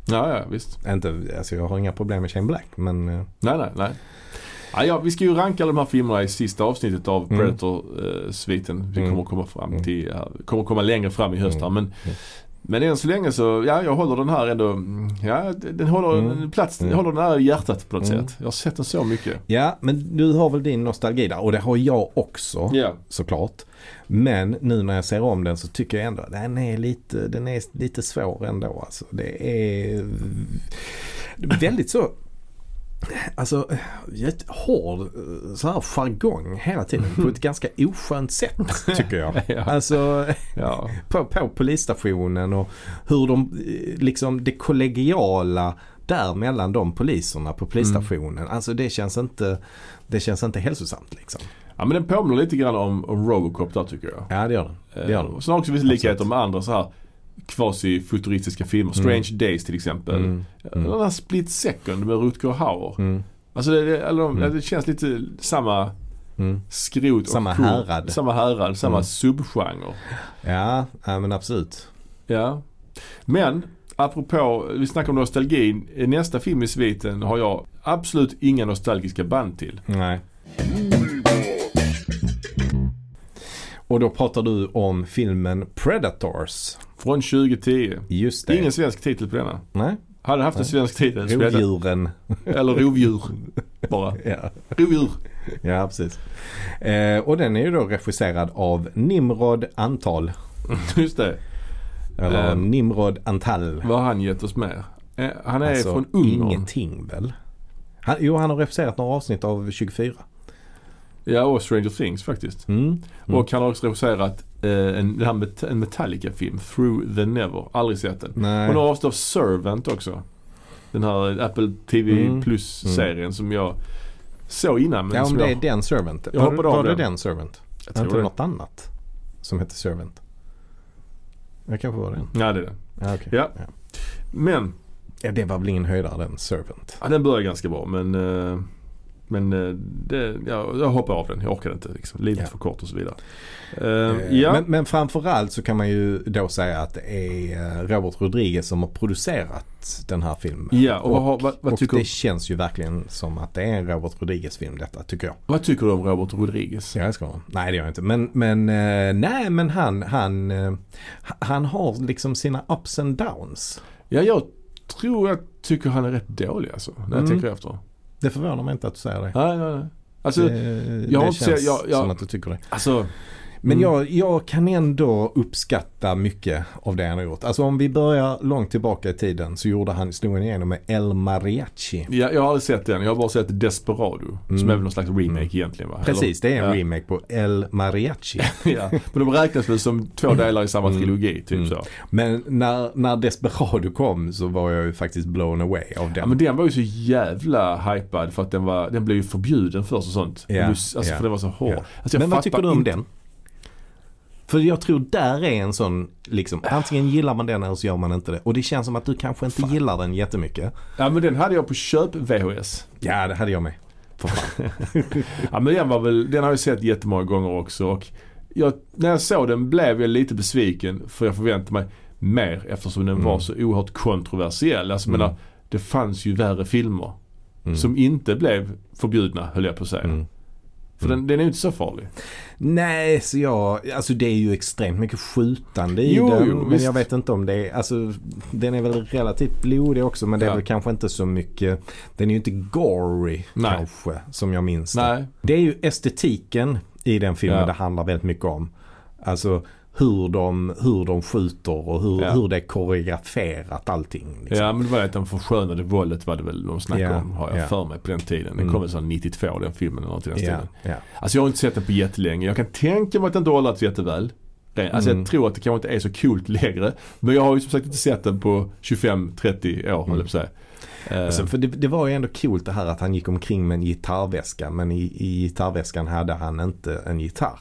S2: Ja, ja, visst.
S1: Inte, alltså jag har inga problem med Shane Black men eh,
S2: Nej, nej, nej. Ja, ja, vi ska ju ranka alla de här filmerna i sista avsnittet av
S1: Mm.
S2: Predator-sviten. Vi
S1: Mm.
S2: kommer komma fram
S1: Mm.
S2: till, här- kommer komma längre fram i höst här. Men,
S1: Mm.
S2: men än så länge så, ja jag håller den här ändå, ja den håller
S1: Mm.
S2: en plats,
S1: Mm.
S2: jag håller den här i hjärtat på något
S1: Mm.
S2: sätt. Jag har sett den så mycket.
S1: Ja, men du har väl din nostalgi där och det har jag också
S2: Ja.
S1: såklart. Men nu när jag ser om den så tycker jag ändå att den är lite, den är lite svår ändå. Alltså, det är väldigt så Alltså jätte- hård eh, så här jargong hela tiden på ett ganska oskönt sätt tycker jag.
S2: Ja.
S1: Alltså
S2: ja.
S1: på, på polisstationen och hur de, eh, liksom det kollegiala där mellan de poliserna på polisstationen. Alltså det känns inte, det känns inte hälsosamt liksom.
S2: Ja men den påminner lite grann om, om Robocop där tycker jag.
S1: Ja det gör det. det, gör
S2: Eh,
S1: det.
S2: Sen har också vissa likheter
S1: Absolut.
S2: med andra så här quasi-futuristiska filmer. Strange Days till exempel.
S1: Mm.
S2: Eller den här Split Second med Rutger Hauer.
S1: Mm.
S2: Alltså det, det, eller, de- det känns lite samma
S1: Mm.
S2: skrot
S1: Samma
S2: och kor.
S1: härad. Mm.
S2: Samma härad, samma subgenre.
S1: Eh, Ja, ja, men absolut.
S2: Ja. Men apropå, vi snackar om nostalgin. Nästa film i sviten har jag absolut inga nostalgiska band till.
S1: Nej. Och då pratar du om filmen Predators.
S2: Från 2010.
S1: Just det.
S2: Ingen svensk titel på denna.
S1: Nej.
S2: Hade haft en svensk titel skulle jag-
S1: Rovdjuren.
S2: Eller rovdjur bara.
S1: Ja.
S2: Rovdjur.
S1: Ja, precis. Eh, och den är ju då regisserad av Nimrod Antal.
S2: Just det.
S1: Eller
S2: Ehm.
S1: Nimrod Antal.
S2: Vad har han gett oss mer? Eh, Han är
S1: Alltså,
S2: från Ungern.
S1: Ingenting väl? Han, jo, han har regisserat några avsnitt av 24.
S2: Ja, och Stranger Things faktiskt.
S1: Mm. Mm.
S2: Och han har också regisserat eh, en, den här Met- en Metallica-film, Through the Never. Aldrig sett den.
S1: Nej.
S2: Och några avsnitt av Servant också. Den här Apple TV
S1: Mm.
S2: Plus-serien som jag såg innan. Men
S1: ja, om
S2: som
S1: det är
S2: jag,
S1: den Servant.
S2: Jag
S1: var
S2: hoppade
S1: var
S2: av
S1: det
S2: den.
S1: den Servant?
S2: jag
S1: Inte
S2: tror det.
S1: något annat som hette Servant? Jag kanske var den.
S2: Nej, det är den.
S1: Ja, okej.
S2: Ja.
S1: Ja.
S2: Men,
S1: Ja, det var väl ingen höjdare den Servant.
S2: ja, den börjar ganska bra. Men, eh, men eh, det, ja, jag hoppar av den. Jag orkar inte liksom. Livet
S1: Ja.
S2: är för kort och så vidare. Eh,
S1: Eh,
S2: ja.
S1: Men, men framförallt så kan man ju då säga att det är eh, Robert Rodriguez som har producerat den här filmen.
S2: Ja, och, vad, har- vad, vad,
S1: och
S2: tycker,
S1: det känns ju verkligen som att det är en Robert Rodriguez-film detta, tycker jag.
S2: vad tycker du om Robert Rodriguez?
S1: Jag älskar honom. Nej, det gör jag inte. Men, men, eh, nej, men han, han, eh, han har liksom sina ups and downs.
S2: Ja, jag tror jag tycker han är rätt dålig alltså. När jag
S1: Mm.
S2: tänker efter.
S1: Det förvånar mig inte att du säger det.
S2: Nej, nej, nej. Alltså,
S1: det
S2: jag har
S1: det
S2: inte-
S1: känns
S2: jag- jag-
S1: som att du tycker det.
S2: alltså
S1: Men
S2: Mm.
S1: jag, jag kan ändå uppskatta mycket av det han har gjort. Alltså om vi börjar långt tillbaka i tiden så gjorde han, slog han igenom med El Mariachi.
S2: jag, jag har aldrig sett den. Jag har bara sett Desperado. Som
S1: Mm.
S2: är väl någon slags remake
S1: Mm.
S2: egentligen va?
S1: Precis, det är en
S2: ja.
S1: remake på El Mariachi.
S2: ja. Men de räknas väl som två delar i samma trilogi typ
S1: Mm.
S2: så.
S1: Men när, när Desperado kom så var jag ju faktiskt blown away av
S2: Ja,
S1: den.
S2: men den var ju så jävla hypad för att den, var, den blev ju förbjuden först och sånt.
S1: Ja,
S2: Den blev- Alltså
S1: ja,
S2: för den var så hård.
S1: ja.
S2: Alltså, jag
S1: men vad
S2: fattar
S1: tycker du om
S2: inte-
S1: den? För jag tror där är en sån, liksom, antingen gillar man den eller så gör man inte det. Och det känns som att du kanske inte gillar den jättemycket.
S2: Ja men den hade jag på köp-VHS.
S1: Ja, det hade jag med.
S2: Ja men den var väl, den har jag sett jättemånga gånger också och jag, när jag såg den blev jag lite besviken för jag förväntade mig mer eftersom den
S1: Mm.
S2: var så oerhört kontroversiell. Alltså jag menar, det fanns ju värre filmer
S1: Mm.
S2: som inte blev förbjudna höll jag på att säga. För
S1: Mm.
S2: den, den är ju inte så farlig.
S1: Nej, så jag, alltså det är ju extremt mycket skjutande i
S2: Jo,
S1: den.
S2: jo,
S1: men
S2: visst.
S1: jag vet inte om det är, alltså den är väl relativt blodig också men det är
S2: Ja.
S1: väl kanske inte så mycket, den är ju inte gory
S2: Nej.
S1: kanske som jag minns det.
S2: Nej.
S1: Det är ju estetiken i den filmen
S2: Ja.
S1: det handlar väldigt mycket om. Alltså hur de, hur de skjuter och hur,
S2: Ja.
S1: hur det är koreograferat allting. Liksom.
S2: Ja men det var att de förskönade våldet var det väl de snackade
S1: Ja,
S2: om har jag
S1: ja.
S2: för mig på den tiden. Den
S1: Mm.
S2: kom väl sån 92 den filmen eller något i den
S1: Ja,
S2: stilen.
S1: ja.
S2: Alltså jag har inte sett den på jättelänge. Jag kan tänka mig att den inte har åldrats jätteväl. Ren- Alltså
S1: Mm.
S2: jag tror att det kanske inte är så coolt längre. Men jag har ju som sagt inte sett den på 25-30 år höll jag på att säga. Eh,
S1: Alltså, för det, det var ju ändå coolt det här att han gick omkring med en gitarrväska. Men i, i gitarrväskan hade han inte en gitarr.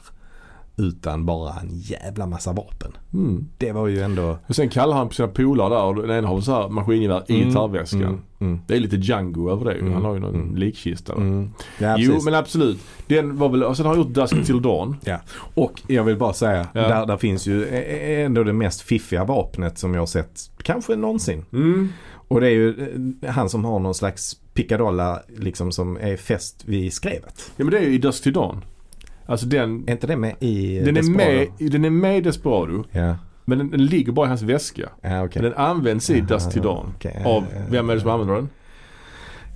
S1: Utan bara en jävla massa vapen.
S2: mm.
S1: Det var ju ändå...
S2: Och sen kallar han på sina polare där och den ena har så här maskingevär i
S1: Mm,
S2: gitarrväskan.
S1: Mm, mm,
S2: Det är lite Django över det ju.
S1: Mm,
S2: Han har ju någon
S1: mm.
S2: likkista.
S1: mm. Ja,
S2: jo
S1: precis.
S2: men absolut. Den var väl, och sen har han gjort Dusk till Dawn.
S1: Ja. Och jag vill bara säga,
S2: Ja.
S1: där, där finns ju ä- ä- ändå det mest fiffiga vapnet som jag har sett kanske någonsin.
S2: Mm.
S1: Och det är ju eh, han som har någon slags pickadolla liksom som är fäst vid skrevet.
S2: Ja men det är ju i Dusk till Dawn. Alltså den,
S1: Är inte det med i eh,
S2: den, är
S1: Desperado?
S2: med, den är med i Desperado.
S1: Ja,
S2: Men den, den ligger bara i hans väska.
S1: ja okej.
S2: Men den används i Dusk till Dawn.
S1: okej.
S2: Av,
S1: Ja, ja,
S2: vem är det som använder den?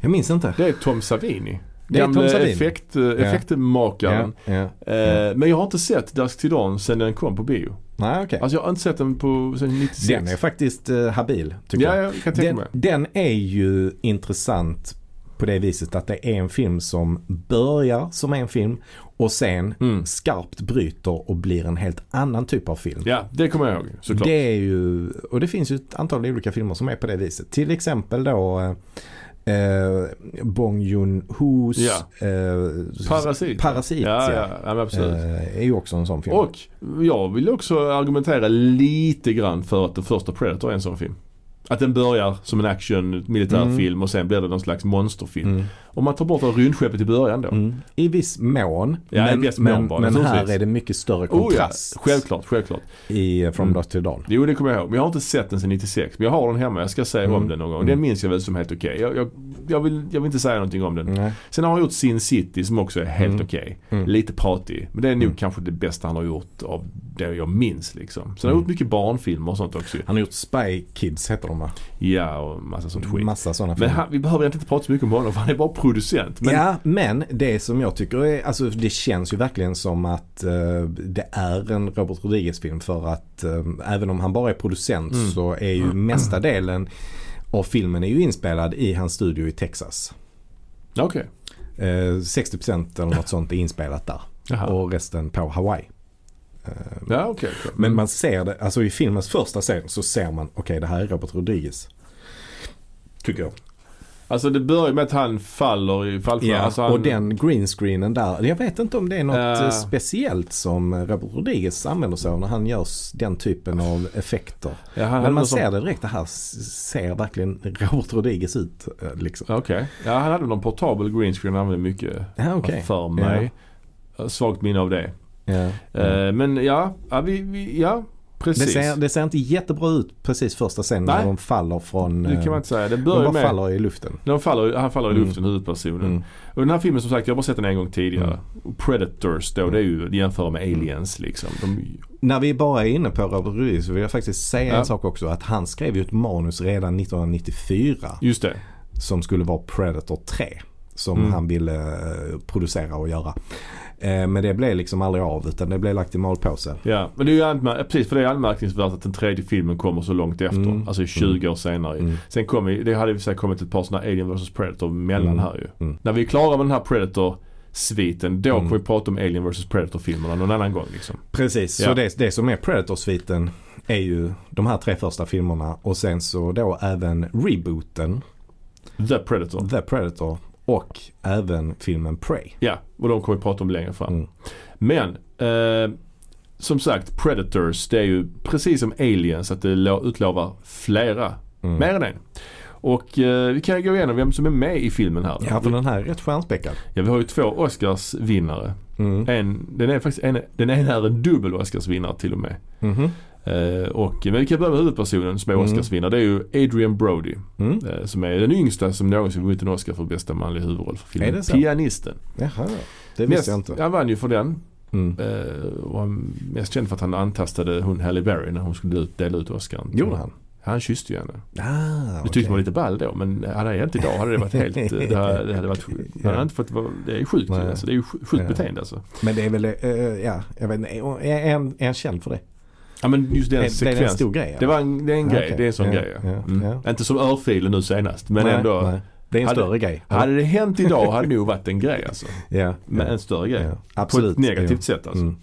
S1: Jag minns inte.
S2: Det är Tom Savini.
S1: Det är Tom
S2: Gamle
S1: Savini.
S2: Effekt, eh, effektmakaren.
S1: Ja, ja.
S2: Eh, Men jag har inte sett Dusk till Dawn sen den kom på bio.
S1: Nej, okej.
S2: Alltså jag har inte sett den på, sen 96.
S1: Den är faktiskt eh, habil, tycker
S2: ja,
S1: jag.
S2: jag kan tänka
S1: Den,
S2: mig.
S1: den är ju intressant på det viset att det är en film som börjar som en film och sen
S2: Mm.
S1: skarpt bryter och blir en helt annan typ av film.
S2: Ja, det kommer jag ihåg såklart.
S1: det är ju, och det finns ju ett antal olika filmer som är på det viset. Till exempel då eh, eh, Bong Joon-Hos
S2: Ja.
S1: eh,
S2: Parasit.
S1: Parasit, ja.
S2: ja, ja, ja men absolut.
S1: Eh, är ju också en sån film.
S2: Och jag vill också argumentera lite grann för att den första Predator är en sån film. Att den börjar som en action militärfilm och sen blir det någon slags monsterfilm.
S1: Mm.
S2: Om man tar bort det här rymdskeppet i början då.
S1: Mm. I viss mån.
S2: Ja, i
S1: men
S2: viss mån
S1: men,
S2: bara,
S1: men här
S2: naturligtvis.
S1: är det mycket större
S2: Oh ja,
S1: kontrast
S2: självklart, självklart.
S1: i eh, From
S2: Mm.
S1: Dusk Till Dawn.
S2: Jo det kommer jag ihåg. Men jag har inte sett den sedan 96. Men jag har den hemma. Jag ska säga
S1: Mm.
S2: om den någon gång.
S1: Mm.
S2: Den minns jag väl som helt okej. Jag, jag, jag, vill, jag vill inte säga någonting om den.
S1: Nej.
S2: Sen har han gjort Sin City som också är helt
S1: Mm.
S2: okej.
S1: Mm.
S2: Lite pratig. Men det är nog
S1: Mm.
S2: kanske det bästa han har gjort av det jag minns liksom. Sen har han
S1: Mm.
S2: gjort mycket barnfilmer och sånt också ju.
S1: Han har gjort Spy Kids heter de va?
S2: Ja och massa sånt skit.
S1: Massa sådana
S2: Men
S1: filmer.
S2: han, vi behöver egentligen inte prata så mycket om honom för han är bara producent. Men
S1: ja, men det som jag tycker är, alltså det känns ju verkligen som att eh, det är en Robert Rodriguez-film för att eh, även om han bara är producent
S2: Mm.
S1: så är ju mesta delen av filmen är ju inspelad i hans studio i Texas.
S2: Ja, okej.
S1: Eh, 60% eller något sånt är inspelat där
S2: Jaha.
S1: och resten på Hawaii.
S2: Ja okej. okej.
S1: Men man ser det, alltså i filmens första scen så ser man, okej det här är Robert Rodriguez. Tycker jag.
S2: Alltså det börjar med att han faller i fallskärm.
S1: Ja,
S2: Alltså, han-
S1: och den greenscreenen där. Jag vet inte om det är något
S2: Ja.
S1: eh, speciellt som Robert Rodriguez använder sig av när han gör s- den typen av effekter.
S2: Ja, han hade
S1: Men man
S2: någon sån-
S1: ser det direkt, det här s- ser verkligen Robert Rodriguez ut. eh, Liksom.
S2: Ja, Okej. Ja han hade någon portabel green screen han använde mycket
S1: Ja, okej.
S2: för mig. Eh, Svagt minne av det.
S1: Ja.
S2: Eh, men ja, ja, vi, vi, ja
S1: Mm. Det,
S2: precis.
S1: ser, det ser inte jättebra ut precis första scenen när
S2: Nej.
S1: de faller från...
S2: Det
S1: eh,
S2: kan man inte säga. Det
S1: de
S2: börjar
S1: bara
S2: med
S1: faller i luften.
S2: när de faller, han faller i
S1: Mm.
S2: luften, huvudpersonen.
S1: Mm.
S2: Och den här filmen som sagt, jag har bara sett den en gång tidigare.
S1: Mm.
S2: Och Predators då, det är ju att jämföra med aliens liksom. De,
S1: När vi bara är inne på Robert Rodriguez så vill jag faktiskt säga
S2: Ja.
S1: en sak också. Att han skrev ju ett manus redan 1994.
S2: just det.
S1: som skulle vara Predator 3. Som
S2: Mm.
S1: han ville eh, producera och göra. Eh, Men det blev liksom aldrig av utan det blev lagt i malpåse.
S2: Ja, men det är ju anmär- precis, för det är anmärkningsvärt att den tredje filmen kommer så långt efter.
S1: Mm.
S2: Alltså 20 år senare.
S1: Mm.
S2: Sen kom ju, det hade vi säkert kommit ett par sådana Alien vs Predator mellan
S1: Mm.
S2: här ju.
S1: Mm.
S2: När vi är klara med den här Predator sviten, då
S1: Mm.
S2: kommer vi prata om Alien vs Predator filmerna någon annan gång liksom.
S1: Precis,
S2: Ja.
S1: så det, det som är Predator-sviten är ju de här tre första filmerna och sen så då även rebooten,
S2: The Predator.
S1: The Predator och även filmen Prey.
S2: Ja, och de kommer vi prata om längre fram.
S1: Mm.
S2: Men eh, som sagt Predators det är ju precis som Aliens att det lo- utlovar flera.
S1: Mm.
S2: Mer än en. Och eh, vi kan ju gå igenom vem som är med i filmen här.
S1: Ja, för den här är rätt stjärnspäckad.
S2: Ja, vi har ju två Oscarsvinnare.
S1: Mm.
S2: En, den, är faktiskt en, den ena är en dubbel Oscarsvinnare till och med.
S1: Mhm.
S2: Eh, och, men vi kan börja med huvudpersonen som är
S1: Mm.
S2: Oscarsvinnare. Det är ju Adrian Brody.
S1: Mm.
S2: Eh, som är den yngsta som någonsin vunnit en Oscar för bästa manlig huvudroll för
S1: Är
S2: filmen
S1: det så?
S2: Pianisten.
S1: Jaha, det visste jag inte.
S2: Han vann ju för den.
S1: Mm.
S2: Eh, och han mest känd för att han antastade hon Halle Berry när hon skulle ut- dela ut Oscarn.
S1: Gjorde han?
S2: Han kysste ju henne.
S1: Ah,
S2: Det tyckte man var lite ball då men hade han hänt idag hade det varit helt... eh, Det hade, det hade varit, han hade inte fått vara, det är sjukt
S1: Nej.
S2: alltså. Det är ju sj- sjukt
S1: Ja.
S2: beteende alltså.
S1: Men det är väl, eh, ja, jag vet inte, är är- är han är han känd för det?
S2: Ja men just
S1: Blev
S2: den
S1: det en
S2: sekvensen.
S1: stor grej?
S2: Det, var en, det är en
S1: Ja,
S2: grej.
S1: okej.
S2: Det är en sån
S1: Ja,
S2: grej ja.
S1: ja,
S2: Mm.
S1: ja.
S2: Inte som örfilen nu senast men
S1: Nej,
S2: ändå.
S1: nej. Det är en
S2: Hade-
S1: större grej.
S2: Hade det hänt idag hade det nog varit en grej alltså.
S1: ja,
S2: Men
S1: ja,
S2: en större grej.
S1: ja.
S2: På
S1: Absolut.
S2: ett negativt
S1: ja.
S2: sätt alltså.
S1: Mm.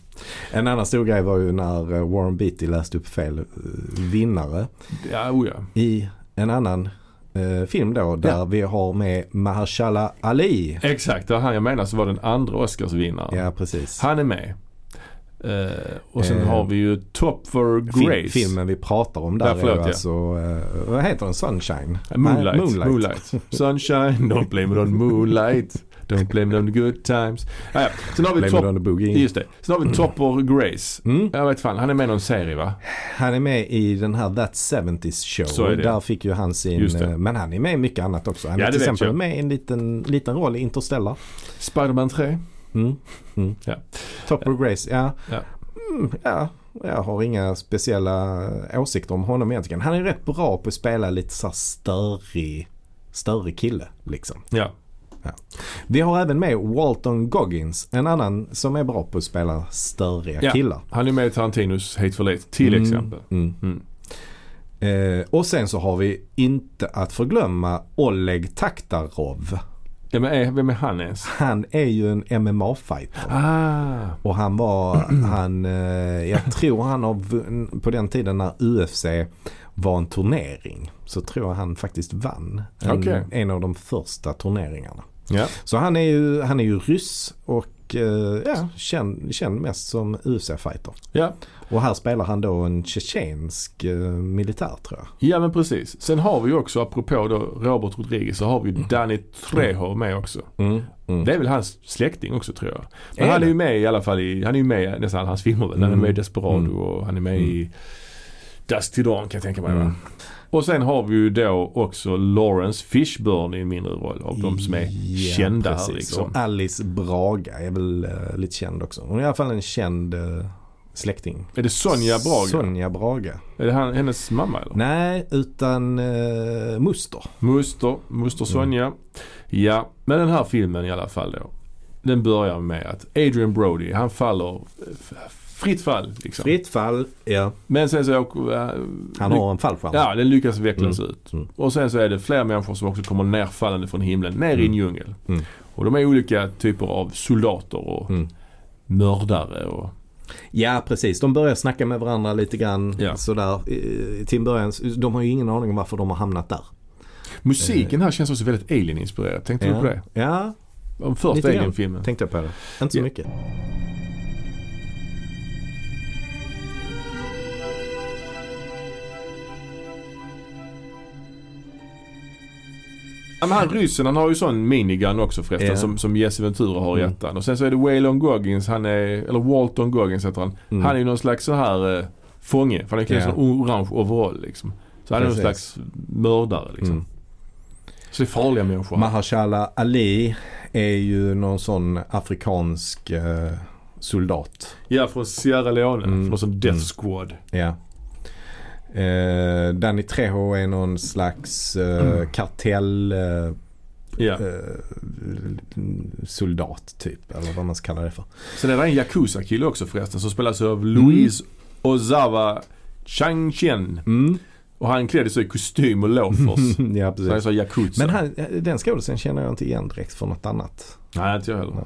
S1: En annan stor grej var ju när eh, Warren Beatty läste upp fel eh, vinnare
S2: Ja, oh ja.
S1: i en annan eh, film då där vi har med Mahershala Ali.
S2: Exakt, det var han jag menar så var den andra Oscarsvinnaren.
S1: Ja, precis.
S2: Han är med. Eh, och sen
S1: Eh,
S2: har vi ju Top for
S1: Fil-
S2: Grace.
S1: Filmen vi pratar om där
S2: Ja, förlåt,
S1: är ju
S2: ja.
S1: alltså, eh, vad heter den? Sunshine?
S2: Eh, Moonlight.
S1: Nej,
S2: Moonlight. Sunshine, don't blame it on moonlight. Don't blame it on good times. Ah, ja. Sen har vi
S1: Blame it
S2: Top...
S1: on the boogie.
S2: Just det. Mm. Sen har vi Topper Grace.
S1: Mm.
S2: Jag vet fan, han är med i någon serie va?
S1: Han är med i den här That 70s show.
S2: Så är det.
S1: Där fick ju han sin,
S2: Just det.
S1: eh, men han är med i mycket annat också. Han
S2: Ja,
S1: är
S2: det
S1: till
S2: vet
S1: exempel
S2: jag.
S1: med i en liten, liten roll i Interstellar.
S2: Spiderman 3.
S1: Mm. Mm.
S2: Ja.
S1: Topper Grace, ja.
S2: Ja.
S1: Mm, ja. Jag har inga speciella eh, åsikter om honom egentligen. Han är rätt bra på att spela lite så här störig, störig kille liksom.
S2: Ja.
S1: Vi har även med Walton Goggins, en annan som är bra på att spela störiga
S2: Ja.
S1: killar.
S2: Han är med i Tarantinos Hateful Eight till
S1: Mm,
S2: exempel.
S1: Mm.
S2: Mm.
S1: Eh, och sen så har vi inte att förglömma Oleg Taktarov.
S2: Ja, men är, vem är han ens?
S1: Han är ju en MMA-fighter.
S2: Ah,
S1: Och han var, han, eh, jag tror han har, vunn- på den tiden när UFC var en turnering så tror jag han faktiskt vann en,
S2: Okej.
S1: en av de första turneringarna.
S2: ja.
S1: Så han är ju, han är ju ryss och eh, ja, känd, känd mest som UFC-fighter.
S2: Ja.
S1: Och här spelar han då en tjetjensk eh, militär tror jag.
S2: ja, men precis. Sen har vi ju också, apropå då Robert Rodriguez, så har vi
S1: Mm.
S2: Danny Trejo med också. Det är väl hans släkting också tror jag. Men
S1: Är
S2: han är
S1: det?
S2: ju med i alla fall i, han är ju med i nästan alla hans filmer väl. Han är
S1: Mm.
S2: med i Desperado och han är med i Dust till Dawn kan jag tänka mig va.
S1: Mm.
S2: Och sen har vi ju då också Lawrence Fishburne i en mindre roll av de som är kända här liksom.
S1: Och Alice Braga är väl eh, lite känd också. Hon är i alla fall en känd eh, släkting.
S2: Är det Sonja Braga?
S1: Sonja Braga.
S2: Är det han, hennes mamma eller?
S1: Nej, utan eh, Muster.
S2: Moster,
S1: Mm.
S2: Moster Sonja. Ja, men den här filmen i alla fall då. Den börjar med att Adrian Brody, han faller f- fritt fall liksom.
S1: Fritt fall. Ja.
S2: Men sen så åker, äh,
S1: Han har en fallskärm.
S2: Ja, den lyckas vecklas ut.
S1: Mm.
S2: Och sen så är det fler människor som också kommer nerfallande från himlen, ner i en djungel.
S1: Mm.
S2: Och de är olika typer av soldater och
S1: Mm.
S2: mördare och...
S1: Ja precis, de börjar snacka med varandra lite grann
S2: Ja.
S1: sådär eh, till en början. De har ju ingen aning om varför de har hamnat där.
S2: Musiken här känns också väldigt alien-inspirerad. Tänkte du på det?
S1: Eh. ja
S2: Om första
S1: Lite grann.
S2: alien-filmen.
S1: tänkte jag på det. Inte så
S2: Ja.
S1: mycket.
S2: Ja, men han ryssen han har ju sån minigun också förresten
S1: Ja.
S2: som, som Jesse Ventura har i
S1: Mm.
S2: ettan. Och sen så är det Waylon Goggins, han är, eller Walton Goggins heter han.
S1: Mm.
S2: Han är ju någon slags så här eh, fånge. För han är klädd i
S1: Ja.
S2: sån orange overall liksom. Så han är någon
S1: Precis.
S2: slags mördare liksom.
S1: Mm.
S2: Så det är farliga människor.
S1: Mahershala Ali är ju någon sån afrikansk eh, soldat.
S2: Ja, från Sierra Leone.
S1: Mm.
S2: Från någon sån Death
S1: Mm.
S2: Squad.
S1: Ja. Eh, Danny Trejo är någon slags eh, kartell eh,
S2: Ja.
S1: eh, soldat typ. Eller vad man ska kalla det för.
S2: Sen är det en Yakuza-kille också förresten som spelas av
S1: Mm.
S2: Louise Ozawa Changchen.
S1: Mm.
S2: Och han klädde sig i kostym och loafers.
S1: ja,
S2: Så han är
S1: precis.
S2: så här Yakuza.
S1: Men han, den skådisen känner jag inte igen direkt från något annat.
S2: Nej, inte jag heller.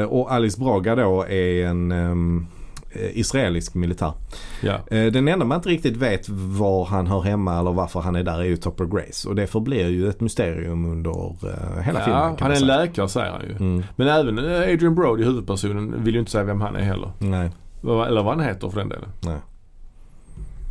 S1: Eh, och Alice Braga då är en ehm, eh, israelisk militär.
S2: Ja.
S1: Eh, den enda man inte riktigt vet var han hör hemma eller varför han är där är ju Topper Grace. Och det förblir ju ett mysterium under eh, hela filmen.
S2: ja,
S1: kan
S2: han
S1: man
S2: är en
S1: säga.
S2: läkare säger han ju.
S1: Mm,
S2: Men även eh, Adrian Brody, huvudpersonen, vill ju inte säga vem han är heller.
S1: nej,
S2: Vad- Eller vad han heter för den delen.
S1: nej.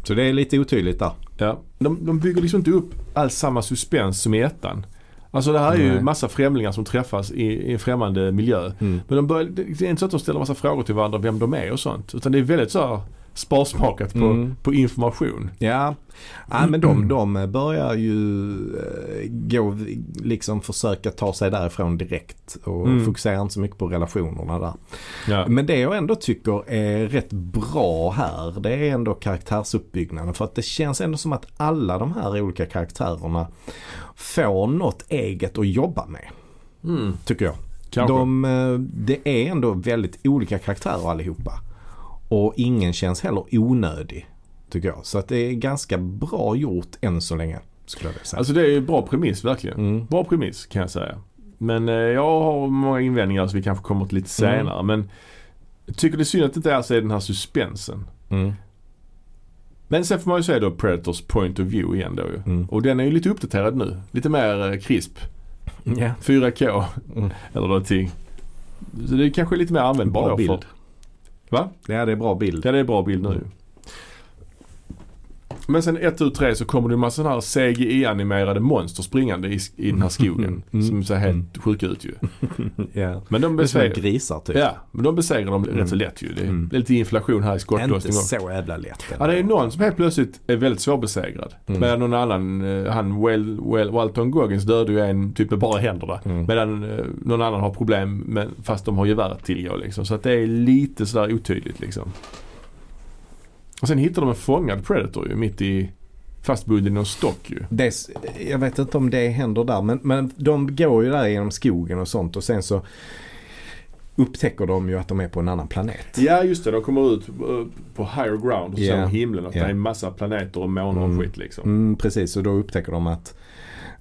S1: Så det är lite otydligt där.
S2: Ja. De, de bygger liksom inte upp alls samma suspens som i ettan. Alltså det här är ju
S1: Nej.
S2: massa främlingar som träffas i, i en främmande miljö.
S1: Mm.
S2: Men de börjar, det är inte så att de ställer massa frågor till varandra vem de är och sånt. Utan det är väldigt så här sparsmakat på,
S1: Mm.
S2: på information.
S1: Ja, ja men de, de börjar ju eh, gå, liksom försöka ta sig därifrån direkt. Och
S2: Mm.
S1: fokuserar inte så mycket på relationerna där.
S2: Ja.
S1: Men det jag ändå tycker är rätt bra här det är ändå karaktärsuppbyggnaden. För att det känns ändå som att alla de här olika karaktärerna får något eget att jobba med.
S2: Mm.
S1: Tycker jag.
S2: Kanske.
S1: De, eh, det är ändå väldigt olika karaktärer allihopa. Och ingen känns heller onödig. Tycker jag. Så att det är ganska bra gjort än så länge. Skulle jag vilja säga.
S2: Alltså det är ju bra premiss verkligen.
S1: Mm.
S2: Bra premiss kan jag säga. Men eh, jag har många invändningar som vi kanske kommer till lite
S1: Mm.
S2: senare. Men jag tycker det är synd att det inte alls är den här suspensen.
S1: Mm.
S2: Men sen får man ju säga då Predators point of view igen då ju.
S1: Mm.
S2: Och den är ju lite uppdaterad nu. Lite mer eh, krisp.
S1: Ja.
S2: 4K
S1: Mm.
S2: eller någonting. Så det är kanske lite mer användbar
S1: Bra
S2: då
S1: bild. Mm.
S2: För, va?
S1: ja, det är bra bild.
S2: Ja det är bra bild nu ju. Men sen 1 ut 3 så kommer det en massa sådana här CGI-animerade monster springande i, i den här skogen.
S1: Mm.
S2: Som ser helt sjuka ut ju.
S1: Ja. Det är
S2: Men de
S1: som
S2: besegrar,
S1: grisar typ.
S2: ja, men de besegrar dem
S1: Mm.
S2: rätt så lätt ju. Det är,
S1: Mm.
S2: det är lite inflation här i
S1: Inte
S2: skottlossning också.
S1: så jävla lätt.
S2: Ja, det är någon som helt plötsligt är väldigt svårbesegrad.
S1: Mm.
S2: Medan någon annan, eh, han Wel- Wel- Walton Goggins dödade ju en typ med bara händerna.
S1: Mm.
S2: Medan eh, någon annan har problem med, fast de har geväret tillgå liksom. Så att det är lite sådär otydligt liksom. Och sen hittar de en fångad Predator ju mitt i fastbunden i någon stock ju.
S1: Det, är s- jag vet inte om det händer där men, men de går ju där genom skogen och sånt och sen så upptäcker de ju att de är på en annan planet.
S2: Ja just det, de kommer ut eh, på higher ground och
S1: Ja.
S2: ser himlen att
S1: Ja.
S2: det är en massa planeter och månar
S1: Mm.
S2: och skit liksom.
S1: Mm, precis och då upptäcker de att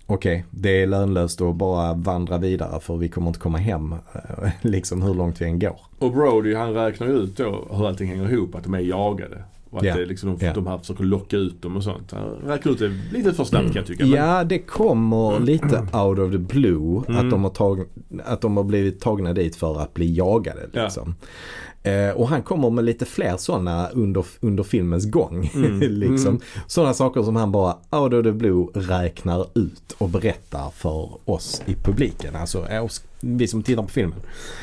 S1: okej det är lönlöst att bara vandra vidare för vi kommer inte komma hem eh, liksom hur långt vi än går.
S2: Och Brody han räknar ju ut då hur allting hänger ihop, att de är jagade. Och att
S1: Ja.
S2: det liksom, de,
S1: Ja.
S2: de här försöker locka ut dem och sånt. Han räknar ut det lite för snabbt kan jag tycka. men-
S1: Mm. Ja det kommer lite out of the blue
S2: Mm.
S1: att, de har tag- att de har blivit tagna dit för att bli jagade.
S2: Ja.
S1: Liksom. Eh, och han kommer med lite fler sådana under, under filmens gång.
S2: Mm.
S1: liksom. Sådana saker som han bara out of the blue räknar ut och berättar för oss i publiken. Alltså eh, oss, vi som tittar på filmen.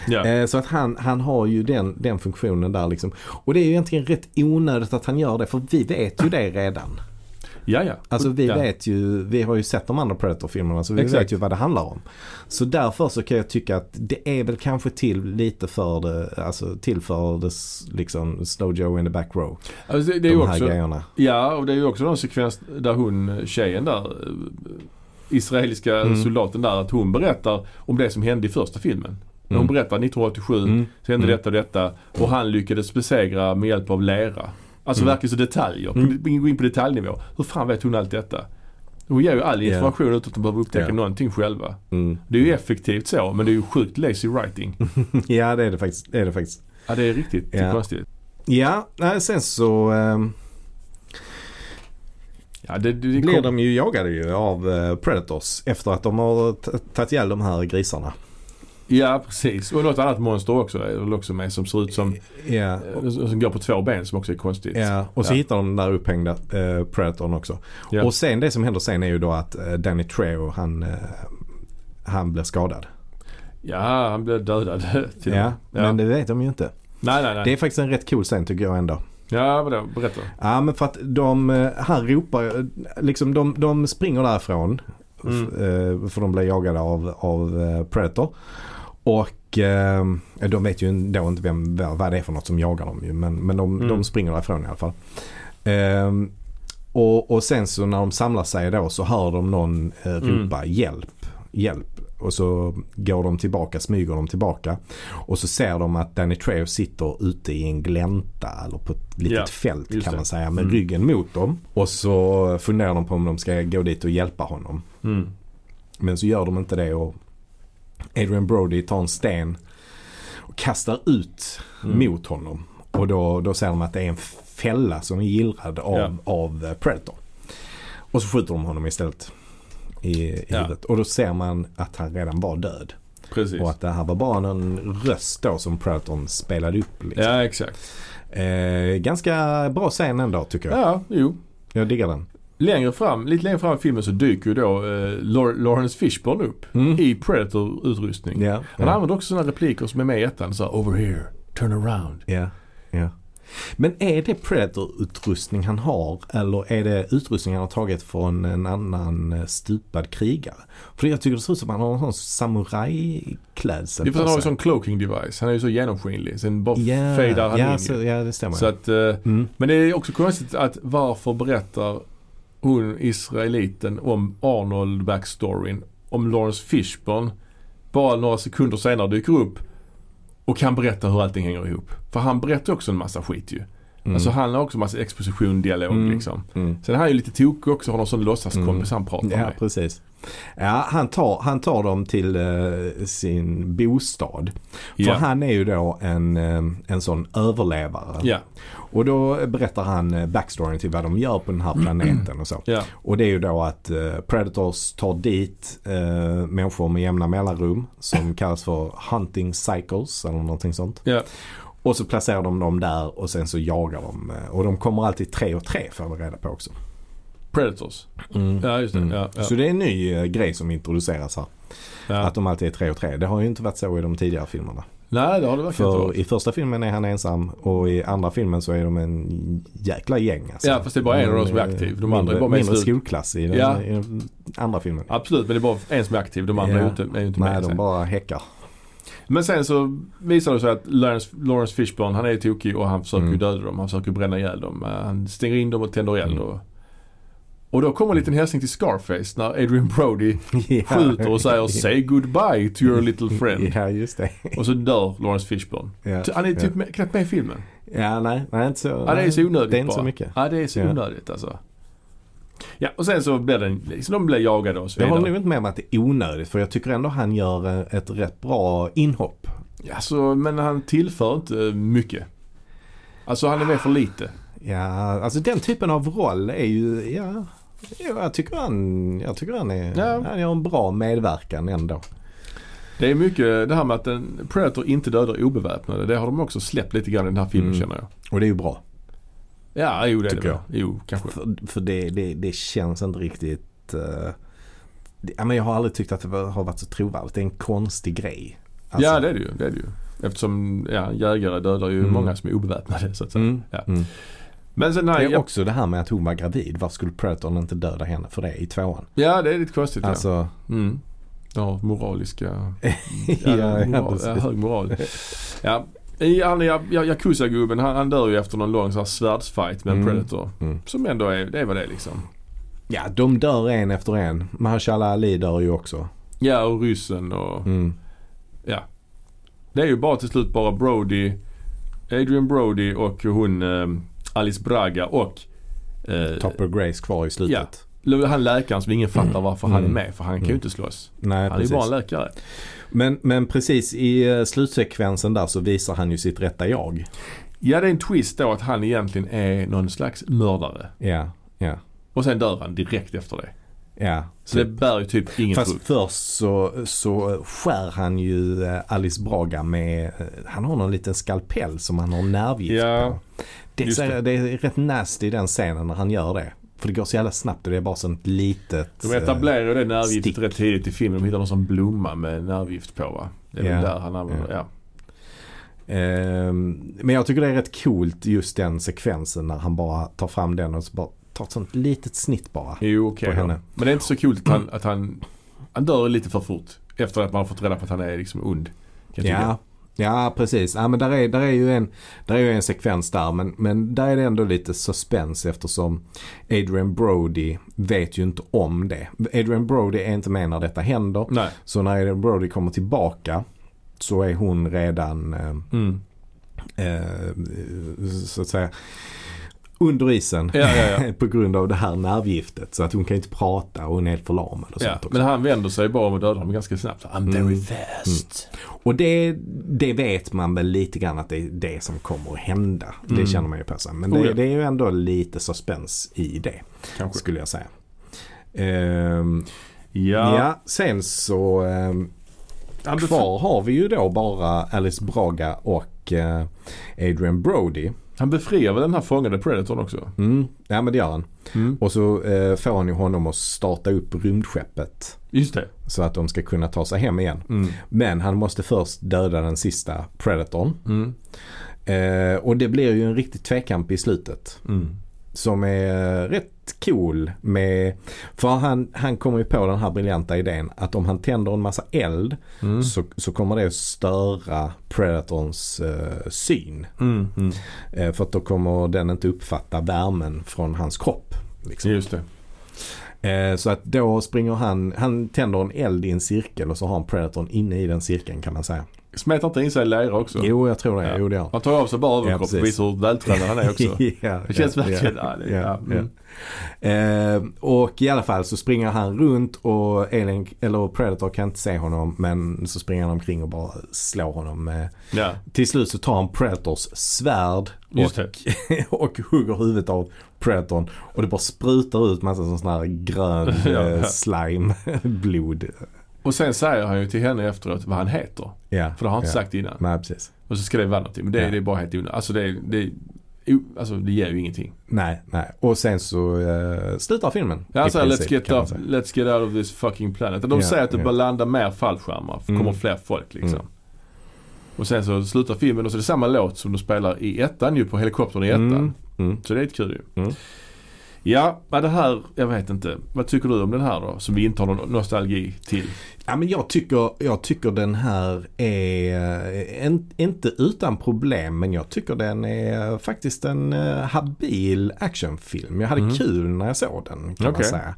S2: Ja.
S1: Eh, Så att han, han har ju den, den funktionen där liksom. Och det är ju egentligen rätt onödigt att han gör det för vi vet ju det redan.
S2: ja, ja.
S1: Alltså vi
S2: Ja.
S1: vet ju, vi har ju sett de andra Predator-filmerna så vi
S2: Exakt.
S1: vet ju vad det handlar om. Så därför så kan jag tycka att det är väl kanske till lite för det, alltså till för det s- liksom Slow Joe in the back row.
S2: Alltså, det, det är
S1: De
S2: ju
S1: här
S2: också,
S1: grejerna.
S2: ja, och det är ju också någon sekvens där hon, tjejen där, eh, israeliska
S1: Mm.
S2: soldaten där, att hon berättar om det som hände i första filmen. När Hon
S1: Mm.
S2: berättar 1987
S1: Mm.
S2: så hände
S1: Mm.
S2: detta och detta och han lyckades besegra med hjälp av lera. Alltså
S1: Mm.
S2: verkligen så detaljer.
S1: Mm.
S2: På, gå in på detaljnivå. Hur fan vet hon allt detta? Hon ger ju all
S1: Ja.
S2: information utan att de behöver upptäcka
S1: Ja.
S2: någonting själva.
S1: Mm.
S2: Det är ju effektivt så men det är ju sjukt lazy writing.
S1: Ja det är det faktiskt. Det är det faktiskt.
S2: Ja det är riktigt
S1: Mm. Ja.
S2: konstigt.
S1: Ja, nej, sen så ehm,
S2: Ja, det, det, det
S1: blir
S2: kom,
S1: de ju jagade ju av eh, Predators efter att de har t- tagit ihjäl de här grisarna.
S2: ja precis. Och något annat monster också är väl också med som ser ut som,
S1: Ja.
S2: eh, som går på två ben som också är konstigt.
S1: Ja, och så
S2: Ja.
S1: hittar de den där upphängda eh, Predatorn också.
S2: Ja.
S1: Och sen det som händer sen är ju då att eh, Danny Trejo han, eh, han blir skadad.
S2: Ja, han blev dödad. till
S1: Ja,
S2: och med.
S1: men det vet de ju inte.
S2: Nej, nej, nej.
S1: Det är faktiskt en rätt cool scen tycker jag ändå.
S2: Ja, vadå? Berätta.
S1: Ja men för att de, eh, han ropar, eh, liksom de, de springer därifrån.
S2: Mm.
S1: f- eh, För de blir jagade av, av eh, Predator. Och eh, de vet ju ändå inte vem, vad vad det är för något som jagar dem ju. Men, men de,
S2: Mm.
S1: de springer därifrån i alla fall. Eh, och, och sen så när de samlar sig då så hör de någon eh,
S2: Mm.
S1: ropa hjälp, hjälp. Och så går de tillbaka, smyger de tillbaka. Och så ser de att Danny Trejo sitter ute i en glänta eller på ett litet
S2: Ja,
S1: fält
S2: just
S1: kan
S2: det.
S1: man säga med
S2: Mm.
S1: ryggen mot dem. Och så funderar de på om de ska gå dit och hjälpa honom.
S2: Mm.
S1: Men så gör de inte det och Adrian Brody tar en sten och kastar ut
S2: Mm.
S1: mot honom. Och då, då ser de att det är en fälla som är gillrad av, av eh, Predator. Och så skjuter de honom istället i, i
S2: Ja.
S1: huvudet. Och då ser man att han redan var död.
S2: Precis.
S1: Och att det här var bara en röst då som Predatorn spelade upp. Liksom.
S2: Ja, exakt.
S1: Eh, ganska bra scen ändå tycker jag.
S2: Ja, jo.
S1: Jag diggar den.
S2: Längre fram, lite längre fram i filmen så dyker ju då eh, Lor- Lawrence Fishburne upp
S1: Mm.
S2: i Predator-utrustning.
S1: Ja,
S2: Han
S1: ja,
S2: använder också sådana repliker som är med i ettan. Så här, over here, turn around.
S1: ja, ja. Men är det Predator-utrustning han har eller är det utrustning han har tagit från en annan eh, stupad krigare? För jag tycker det ser ut som att han har en sån samurajklädsel
S2: Det är för att han har ju
S1: sig.
S2: sån cloaking device. Han är ju så genomskinlig. Sen bara
S1: Ja,
S2: fadar han
S1: ja,
S2: in.
S1: så,
S2: ju.
S1: ja, det stämmer.
S2: så att, eh,
S1: mm.
S2: men det är också konstigt att varför berättar hon, israeliten, om Arnold backstoryn om Lawrence Fishburne bara några sekunder senare dyker upp Och kan berätta hur allting hänger ihop. För han berättar också en massa skit ju. Alltså han har också en massa exposition, dialog
S1: Mm.
S2: liksom.
S1: Mm.
S2: Sen är han ju lite tokig också, har någon sån låtsaskompis han pratar
S1: Ja,
S2: med.
S1: precis. Ja, han, tar, han tar dem till eh, sin bostad. För
S2: Ja.
S1: han är ju då en, eh, en sån överlevare.
S2: Ja,
S1: Och då berättar han eh, backstoryn till vad de gör på den här planeten och så.
S2: ja,
S1: Och det är ju då att eh, Predators tar dit eh, människor med jämna mellanrum som kallas för hunting cycles eller någonting sånt.
S2: ja.
S1: Och så placerar de dem där och sen så jagar de. eh, Och de kommer alltid tre och tre får vi reda på också.
S2: Predators. Ja, just det. Ja, ja.
S1: Mm. Så det är en ny eh, grej som introduceras här.
S2: ja.
S1: Att de alltid är tre och tre. Det har ju inte varit så i de tidigare filmerna.
S2: Nej, det har det verkligen inte
S1: För
S2: varit.
S1: i första filmen är han ensam och i andra filmen så är de en jäkla gäng. Alltså.
S2: Ja, fast det är bara en av dem som är
S1: De
S2: aktiv. De
S1: mindre,
S2: andra är bara med i
S1: mindre
S2: slutet.
S1: skolklass i den,
S2: Ja.
S1: i den andra filmen.
S2: Absolut, men det är bara en som är aktiv. De andra
S1: Ja.
S2: är ju inte, är ju inte
S1: Nej,
S2: med.
S1: de
S2: sen.
S1: bara häckar.
S2: Men sen så visar det sig att Lawrence, Lawrence Fishburne, han är tokig och han försöker ju
S1: Mm.
S2: döda dem. Han försöker bränna ihjäl dem. Eh, Han stänger in dem och tänder eld.
S1: Mm.
S2: Och, och då kommer en liten hälsning till Scarface när Adrian Brody
S1: Ja.
S2: skjuter och säger “Say goodbye to your little friend”
S1: Ja, just det.
S2: och så dör Lawrence Fishburne.
S1: Ja,
S2: Han är typ
S1: ja.
S2: med, knappt med i filmen.
S1: ja nej, nej, inte så.
S2: Ja, det är så onödigt
S1: Det är inte
S2: bara.
S1: så mycket.
S2: Ja, det är så
S1: Ja.
S2: onödigt alltså. Ja, och sen så blir den, liksom, de blir jagade och så
S1: Jag håller
S2: vidare.
S1: nog inte med om att det är onödigt för jag tycker ändå han gör eh, ett rätt bra inhopp.
S2: Alltså, men han tillför inte mycket. Alltså han är med för lite.
S1: Ja, alltså den typen av roll är ju, ja, ja, jag tycker han, jag tycker han är,
S2: Ja.
S1: han gör en bra medverkan ändå.
S2: Det är mycket det här med att en Predator inte dödar obeväpnade. Det har de också släppt lite grann i den här filmen
S1: Mm.
S2: känner jag.
S1: Och det är ju bra.
S2: Ja, jo det är
S1: Tycker
S2: det väl.
S1: jag. Alltså.
S2: Jo, kanske.
S1: För, för det, det, det känns inte riktigt, eh, det, ja, men jag har aldrig tyckt att det var- har varit så trovärdigt. Det är en konstig grej. Alltså-
S2: Ja, det är det ju. Det är det ju. Eftersom ja, jägare dödar ju
S1: Mm.
S2: många som är obeväpnade så att säga.
S1: Mm,
S2: Ja.
S1: mm.
S2: Men sen
S1: Det
S2: nej,
S1: är
S2: ja,
S1: också det här med att hon var gravid. Varför skulle Predatorn inte döda henne för det i tvåan?
S2: ja, det är lite konstigt. ja.
S1: Alltså,
S2: Mm. Ja, moraliska...
S1: ja,
S2: Ja,
S1: ja,
S2: moral,
S1: precis.
S2: ja, hög moral. Ja. I- Han, ja, ja, Yakuza-gubben han, han dör ju efter någon lång så här svärdsfight med en
S1: Mm.
S2: Predator.
S1: Mm.
S2: Som ändå är, det är vad det är liksom.
S1: ja, de dör en efter en. Mahershala Ali dör ju också.
S2: Ja, och ryssen och...
S1: Mm.
S2: Det är ju bara till slut bara Brody, Adrian Brody och hon eh, Alice Braga och eh,
S1: Topper Grace kvar i slutet.
S2: Ja. han läkaren som ingen fattar varför han
S1: Mm.
S2: är med för han kan ju inte slåss.
S1: Nej,
S2: Han är ju
S1: precis.
S2: bara en läkare.
S1: Men, men precis i eh, slutsekvensen där så visar han ju sitt rätta jag.
S2: Ja, det är en twist då att han egentligen är någon slags mördare.
S1: Ja, ja,
S2: Och sen dör han direkt efter det.
S1: ja.
S2: Så det bär ju typ ingen
S1: Fast
S2: frukt.
S1: först så, så skär han ju eh, Alice Braga med, eh, han har någon liten skalpell som han har nervgift
S2: Ja,
S1: på. Det,
S2: just
S1: ser,
S2: det.
S1: det. är rätt nasty den scenen när han gör det. För det går så jävla snabbt och det är bara sånt litet.
S2: De etablerar ju det nervgiftet
S1: Stick.
S2: rätt tidigt i filmen. De hittar någon sån blomma med nervgift på va? Det är
S1: Ja.
S2: väl där han använder ja.
S1: eh, eh, men jag tycker det är rätt coolt just den sekvensen när han bara tar fram den och så bara tar ett sånt litet snitt bara.
S2: Jo, okej
S1: På
S2: då.
S1: henne. Mm.
S2: Men det är inte så kul att han, att han, han dör lite för fort. Efter att man har fått reda på att han är liksom ond. Kan jag
S1: Ja, ja precis. Ja, men där är, där, är ju en, där är ju en sekvens där. Men, men där är det ändå lite suspens eftersom Adrian Brody vet ju inte om det. Adrian Brody är inte med när detta händer.
S2: tycka. Nej.
S1: Så när Adrian Brody kommer tillbaka så är hon redan eh,
S2: Mm.
S1: eh, så att säga under isen.
S2: Ja, ja, ja.
S1: På grund av det här nervgiftet. Så att hon kan ju inte prata och hon är helt förlamad och
S2: ja.
S1: sånt också. Mm.
S2: Men han vänder sig bara om och dödar dem ganska snabbt. I'm very fast.
S1: Och det, det vet man väl lite grann att det är det som kommer att hända. Det känner man ju på sig. Men det,
S2: Mm. Oh ja.
S1: det är ju ändå lite suspens i det.
S2: Kanske.
S1: Skulle jag säga. Ehm, ja.
S2: Ja.
S1: sen så ehm,
S2: Han bef-
S1: kvar har vi ju då bara Alice Braga och eh, Adrian Brody.
S2: Han befriar väl den här fångade Predatorn också?
S1: Mm, ja men det gör han.
S2: Mm.
S1: Och så eh, får han ju honom att starta upp rymdskeppet.
S2: Just det.
S1: Så att de ska kunna ta sig hem igen.
S2: Mm.
S1: Men han måste först döda den sista Predatorn.
S2: Mm.
S1: Eh, och det blir ju en riktig tvekamp i slutet.
S2: Mm.
S1: Som är rätt cool med... För han, han kommer ju på den här briljanta idén att om han tänder en massa eld
S2: Mm.
S1: så, så kommer det att störa Predatorns eh, syn.
S2: Mm. Mm.
S1: Eh, för att då kommer den inte uppfatta värmen från hans kropp. Liksom.
S2: Just det.
S1: Eh, så att då springer han, han tänder en eld i en cirkel och så har han Predatorn inne i den cirkeln kan man säga.
S2: Smetar inte in sig i lera också?
S1: Jo, jag tror det.
S2: Ja.
S1: Jo, det gör han.
S2: Han tar av sig bara överkropp
S1: precis.
S2: och visar hur vältränad han är också.
S1: ja,
S2: Det känns
S1: ja,
S2: verkligen...
S1: ja.
S2: Ja, det,
S1: Ja,
S2: ja, mm.
S1: Eh, och i alla fall så springer han runt och Alien, eller Predator kan inte se honom men så springer han omkring och bara slår honom. Med.
S2: ja.
S1: Till slut så tar han Predators svärd
S2: Just
S1: och, och hugger huvudet av Predatorn och det bara sprutar ut massa sån här grön
S2: Ja.
S1: eh, slime, blod.
S2: Och sen säger han ju till henne efteråt vad han heter.
S1: Ja,
S2: För det har han inte
S1: ja.
S2: sagt innan.
S1: Nej, precis.
S2: Och så ska det vara någonting. Men det,
S1: Ja.
S2: det är bara helt onödigt. Alltså det, det, alltså det ger ju ingenting.
S1: Nej, nej. Och sen så eh, slutar filmen.
S2: Ja,
S1: i
S2: alltså,
S1: princip,
S2: let's, get
S1: kan man
S2: up,
S1: säga.
S2: let's get out of this fucking planet. De
S1: Ja,
S2: säger att det
S1: ja.
S2: bör landa mer fallskärmar. för det
S1: Mm.
S2: kommer fler folk liksom.
S1: Mm.
S2: Och sen så slutar filmen och så är det samma låt som de spelar i ettan ju på helikoptern i ettan.
S1: Mm, mm.
S2: Så det är ett kul ju.
S1: Mm.
S2: Ja, men det här, jag vet inte. Vad tycker du om den här då? Som vi inte har någon nostalgi till.
S1: Ja, men jag, tycker, jag tycker den här är, eh, en, inte utan problem, men jag tycker den är faktiskt en eh, habil actionfilm. Jag hade
S2: Mm.
S1: kul när jag såg den kan man
S2: Okej.
S1: säga.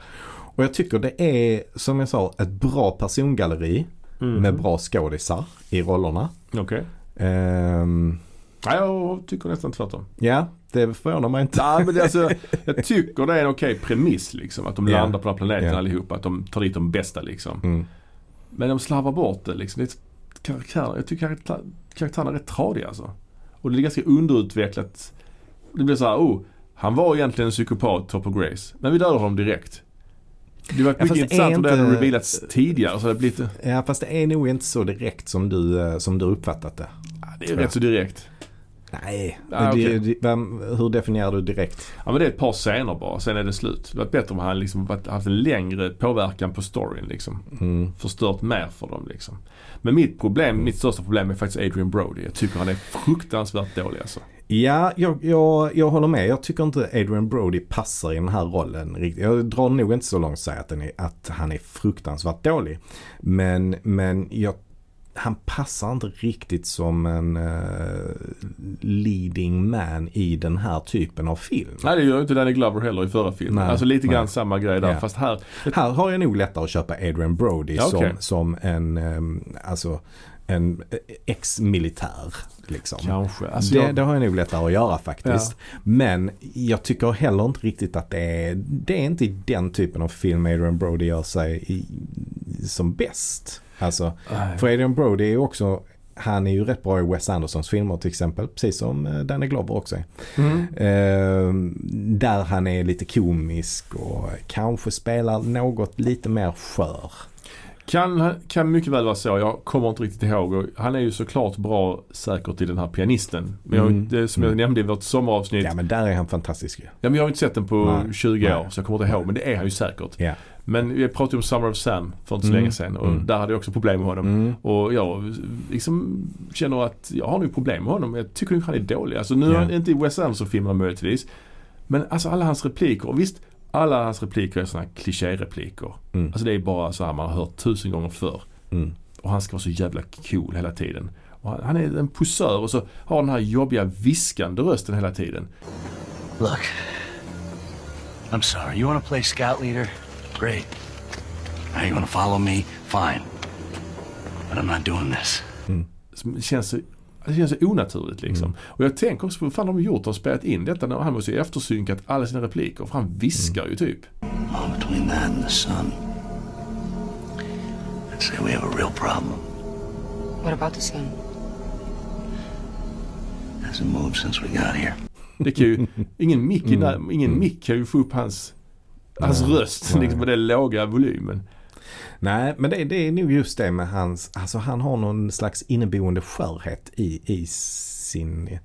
S1: Och jag tycker det är, som jag sa, ett bra persongalleri
S2: Mm.
S1: med bra skådisar i rollerna.
S2: Okej.
S1: Ehm,
S2: Ja, jag tycker nästan tvärtom.
S1: ja, det förvånar mig inte.
S2: Nej, men det, är alltså, jag tycker det är en okej premiss liksom. Att de
S1: Ja.
S2: landar på den här planeten
S1: Ja.
S2: allihopa. Att de tar dit de bästa liksom.
S1: Mm.
S2: Men de slarvar bort det liksom. Det är ett karaktär, jag tycker karaktär- karaktärerna är rätt tradiga alltså. Och det är ganska underutvecklat. Det blir så här, oh, han var egentligen en psykopat, Topper Grace. Men vi dödar honom direkt. Det var
S1: fast
S2: mycket
S1: det är
S2: intressant om det hade
S1: inte-
S2: revealats tidigare. Så det, blir lite,
S1: Ja, fast det är nog inte så direkt som du, eh, som du uppfattat det.
S2: det är rätt så direkt.
S1: Nej,
S2: Ah,
S1: det,
S2: okej.
S1: det, vem, hur definierar du direkt?
S2: Ja men det är ett par scener bara, sen är det slut. Det var bättre om han liksom varit- haft en längre påverkan på storyn liksom.
S1: Mm.
S2: Förstört mer för dem liksom. Men mitt problem, mitt största problem är faktiskt Adrian Brody. Jag tycker han är fruktansvärt dålig alltså.
S1: Ja, jag, jag, jag håller med. Jag tycker inte Adrian Brody passar i den här rollen riktigt. Jag drar nog inte så långt att säga att, den är, att han är fruktansvärt dålig. Men, men jag, han passar inte riktigt som en eh, leading man i den här typen av film.
S2: Nej det gör ju inte Danny Glover heller i förra filmen.
S1: Nej,
S2: alltså lite grann
S1: nej.
S2: samma grej där.
S1: Ja.
S2: Fast här,
S1: Här har jag nog lättare att köpa Adrian Brody
S2: Ja, okej.
S1: som, som en, eh, alltså, en eh, ex-militär. Liksom.
S2: kanske. Alltså,
S1: det,
S2: jag,
S1: det har jag nog lättare att göra faktiskt. Men jag tycker heller inte riktigt att det är, det är inte i den typen av film Adrian Brody gör sig i, som bäst. Alltså,
S2: Nej.
S1: för Adrian Brody är ju också, han är ju rätt bra i Wes Andersons filmer till exempel, precis som eh, Danny Glover också är.
S2: Mm.
S1: Ehm, där han är lite komisk och kanske spelar något lite mer skör.
S2: Kan, kan mycket väl vara så. Jag kommer inte riktigt ihåg. Och Han är ju såklart bra säkert i den här pianisten. Men jag,
S1: Mm.
S2: det, som jag nämnde i vårt sommaravsnitt.
S1: Ja men där är han fantastisk ju.
S2: Ja, men jag har inte sett den på
S1: Nej,
S2: 20 år
S1: nej.
S2: så jag kommer inte ihåg. Men det är han ju säkert.
S1: Ja.
S2: Men vi pratade ju om Summer of Sam för inte så
S1: Mm.
S2: länge sedan och
S1: Mm.
S2: där hade jag också problem med honom.
S1: Mm.
S2: Och jag liksom känner att jag har nu problem med honom. Jag tycker nog han är dålig. Alltså nu
S1: Ja.
S2: är han inte i Wes Anderson-filmerna möjligtvis. Men alltså alla hans repliker. Och visst, alla hans repliker är sådana här klichérepliker.
S1: Mm.
S2: Alltså det är bara så här man har hört tusen gånger förr.
S1: Mm.
S2: Och han ska vara så jävla cool hela tiden. Och han, han är en posör och så har den här jobbiga viskande rösten hela tiden.
S4: Look, I'm sorry. You want to play scout leader? Great. Now you want to follow me? Fine. But I'm not doing this.
S2: som känns så, det känns så onaturligt liksom. Och jag tänker också på vad fan de har gjort. De har spelat in detta. när Han måste ju eftersynkat alla sina repliker. För han viskar ju typ.
S4: Oh, between that and the sun, I'd say we have a real problem.
S5: What about the sun?
S4: Hasn't moved since we got here.
S2: Det kan ju, ingen mick, i när- ingen mick kan ju få upp hans, hans röst liksom, med den låga volymen.
S1: Nej, men det, det är nog just det med hans, alltså han har någon slags inneboende skörhet i, i, sin,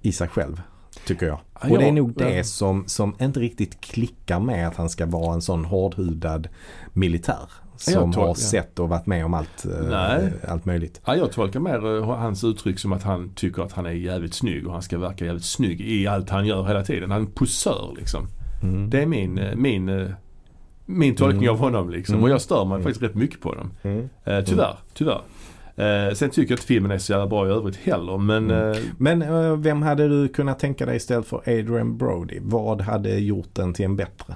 S1: i sig själv. Tycker jag.
S2: Ja,
S1: och det är
S2: ja,
S1: nog det
S2: ja.
S1: som, som inte riktigt klickar med att han ska vara en sån hårdhudad militär. Som
S2: tol-
S1: har
S2: ja.
S1: sett och varit med om allt, eh,
S2: Nej.
S1: allt möjligt.
S2: Ja, jag tolkar mer eh, hans uttryck som att han tycker att han är jävligt snygg och han ska verka jävligt snygg i allt han gör hela tiden. Han är en posör liksom. Det är min, eh, min, eh, min tolkning av honom liksom. Och jag stör mig faktiskt rätt mycket på dem. Eh, tyvärr, tyvärr. Eh, sen tycker jag inte filmen är så jävla bra i övrigt heller men eh,
S1: Men eh, vem hade du kunnat tänka dig istället för Adrian Brody? Vad hade gjort den till en bättre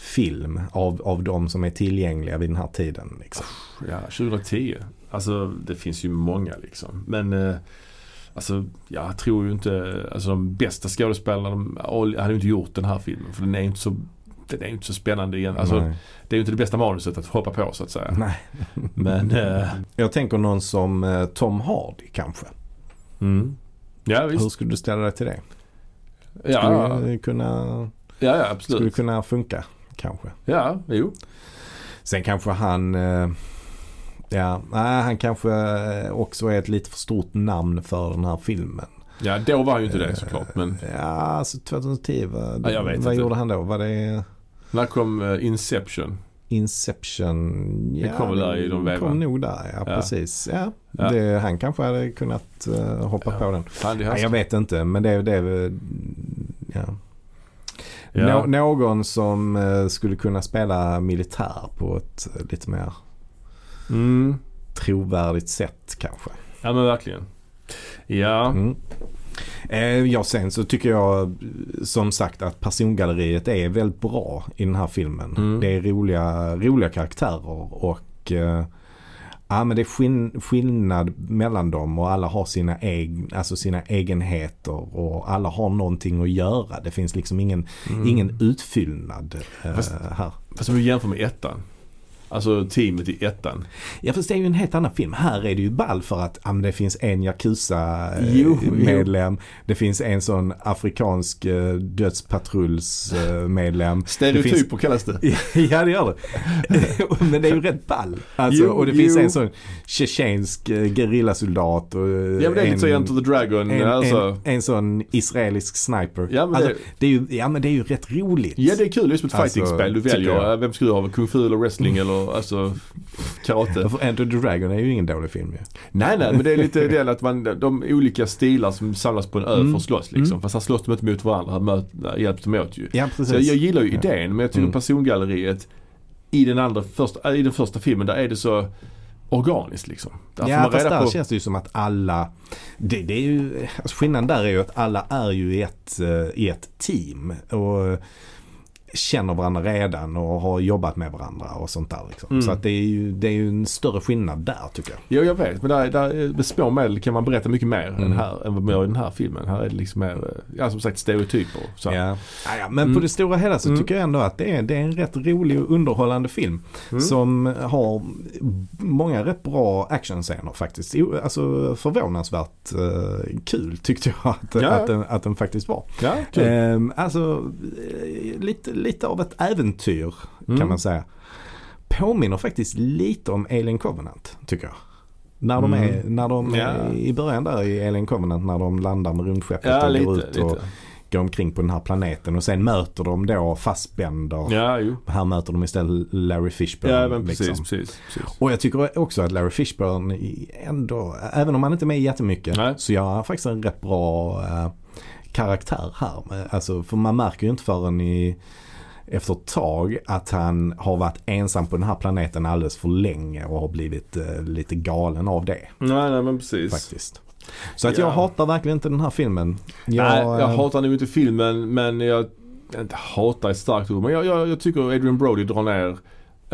S1: film av, av de som är tillgängliga vid den här tiden? Liksom?
S2: ja, 2010. Alltså det finns ju många liksom. Men eh, alltså jag tror ju inte, alltså de bästa skådespelarna, de all- hade ju inte gjort den här filmen. För den är ju inte så, den är ju inte så spännande igen. Alltså
S1: Nej.
S2: det är ju inte det bästa manuset att hoppa på så att säga.
S1: Nej.
S2: Men, eh,
S1: Jag tänker någon som eh, Tom Hardy kanske.
S2: mm. Ja
S1: Hur
S2: visst.
S1: skulle du ställa dig till det? Skulle
S2: Ja, ja,
S1: det kunna,
S2: ja
S1: skulle det
S2: absolut.
S1: kunna funka kanske?
S2: Ja, jo.
S1: Sen kanske han... eh, Ja, nej, han kanske eh, också är ett lite för stort namn för den här filmen.
S2: Ja, då var han ju inte det såklart. Men
S1: Ja, alltså 2010, vad,
S2: Ja, jag vet
S1: vad
S2: inte.
S1: gjorde han då? Var det
S2: när kom eh, Inception?
S1: Inception? Ja,
S2: kom väl där i de
S1: det
S2: vevan.
S1: kom nog där, ja,
S2: Ja.
S1: precis. Ja,
S2: Ja.
S1: Det, han kanske hade kunnat eh, hoppa på den.
S2: Handy
S1: Ja,
S2: Hansen.
S1: jag vet inte, men det är... Det, är- ja.
S2: Ja.
S1: Nå- någon som eh, skulle kunna spela militär på ett eh, lite mer
S2: Mm.
S1: trovärdigt sätt kanske.
S2: Ja men verkligen. Ja.
S1: Mm. Eh, ja, sen så tycker jag eh, som sagt att persongalleriet är väldigt bra i den här filmen.
S2: Mm.
S1: Det är roliga, roliga karaktärer och eh, ja, men det är skin- skillnad mellan dem och alla har sina, eg- alltså sina egenheter och alla har någonting att göra. Det finns liksom ingen, ingen utfyllnad eh,
S2: Mm. Fast-
S1: här.
S2: Fast om du jämför med ettan. Alltså teamet i ettan.
S1: Ja fast det är ju en helt annan film. Här är det ju ball för att ja, men det finns en
S2: Jo, jo.
S1: Yakuza-medlem. Det finns en sån afrikansk eh, dödspatrullsmedlem.
S2: Stereotyper kallas det.
S1: Ja det gör det. Men det är ju rätt ball. Alltså,
S2: Jo,
S1: och det finns
S2: jo.
S1: en sån tjetjensk eh, gerillasoldat. Och, eh,
S2: Ja men det är lite så
S1: en,
S2: Enter the Dragon.
S1: en,
S2: alltså.
S1: en, en sån israelisk sniper.
S2: Ja, men
S1: alltså,
S2: det-
S1: det är ju, ja men det är ju rätt roligt.
S2: Ja det är kul, det är som ett
S1: Alltså,
S2: fighting-spel. Du
S1: tycker
S2: väljer,
S1: jag.
S2: eh, vem ska du ha? Kung fu eller wrestling eller alltså karate?
S1: För Enter the Dragon är ju ingen dålig film ju.
S2: Nej nej men det är lite det att man, de olika stilar som samlas på en ö för att slåss liksom. Fast här slåss de inte mot varandra, här möt, här hjälps de åt ju.
S1: Ja
S2: Så jag,
S1: precis.
S2: jag gillar ju idén men jag tycker persongalleriet i den, andra, första, i den första filmen där är det så organiskt liksom. Där får
S1: Ja
S2: man
S1: fast
S2: reda
S1: där
S2: på-
S1: känns det ju som att alla, det, det är ju, alltså skillnaden där är ju att alla är ju i ett, eh, i ett team och eh, känner varandra redan och har jobbat med varandra och sånt där liksom.
S2: Mm.
S1: Så att det är, ju, det är ju en större skillnad där tycker jag.
S2: Jo jag vet men där, där, med små medel kan man berätta mycket mer än, här, än vad man gör i den här filmen. Här är det liksom mer, eh, ja som sagt stereotyper. Så. Mm. här.
S1: Ja. Ja, ja, men på det stora hela så tycker jag ändå att det är, det är en rätt rolig och underhållande film.
S2: Mm.
S1: Som har många rätt bra actionscener faktiskt. Jo, Alltså förvånansvärt eh, kul tyckte jag att,
S2: Ja.
S1: att, den, att den faktiskt var.
S2: Ja, kul.
S1: Ehm, alltså eh, lite, lite av ett äventyr
S2: Mm.
S1: kan man säga. Påminner faktiskt lite om Alien Covenant tycker jag. När de, är, när de
S2: Mm. Ja.
S1: är i början där i Alien Covenant när de landar med rymdskeppet
S2: Ja,
S1: och går
S2: lite,
S1: ut och
S2: lite.
S1: går omkring på den här planeten och sen möter de då Fassbender.
S2: Ja, jo.
S1: Här möter de istället Larry Fishburne.
S2: Ja, men
S1: liksom.
S2: precis, precis, precis.
S1: Och jag tycker också att Larry Fishburne i- ändå, även om han inte är med jättemycket,
S2: Nej.
S1: så gör han faktiskt en rätt bra eh, karaktär här. Men, Alltså, för man märker ju inte förrän i, efter ett tag att han har varit ensam på den här planeten alldeles för länge och har blivit eh, lite galen av det
S2: Nej, nej men precis.
S1: faktiskt. Så att
S2: Ja.
S1: jag hatar verkligen inte den här filmen. Jag,
S2: nej, jag
S1: eh,
S2: hatar nog inte filmen men jag, inte hatar är ett starkt ord, men jag, jag, jag tycker Adrian Brody drar ner eh,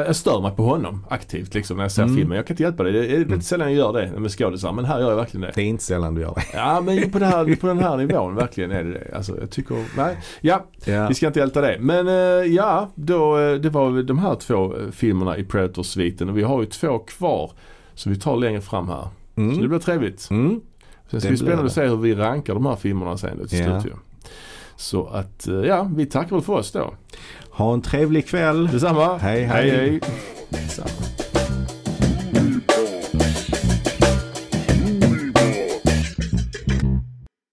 S2: jag stör mig på honom aktivt liksom när jag ser filmen. Jag kan inte hjälpa det. Det är väldigt sällan jag gör det med skådisar. Men här gör jag verkligen det.
S1: Det är inte sällan du gör det.
S2: Ja men på den här, på den här nivån verkligen är det det. Alltså jag tycker, nej. Ja,
S1: Ja.
S2: vi ska inte älta det. Men eh, ja, då, eh, det var väl de här två eh, filmerna i Predator-sviten och vi har ju två kvar. Så vi tar längre fram här. Så det blir trevligt.
S1: Mm.
S2: Sen ska
S1: Det
S2: vi
S1: blir
S2: spännande
S1: det.
S2: att se hur vi rankar de här filmerna sen då till
S1: Ja.
S2: slut ju. Så att eh, ja, vi tackar väl för oss då.
S1: Ha en trevlig kväll.
S2: Detsamma.
S1: Hej, hej.
S2: hej. hej. Detsamma.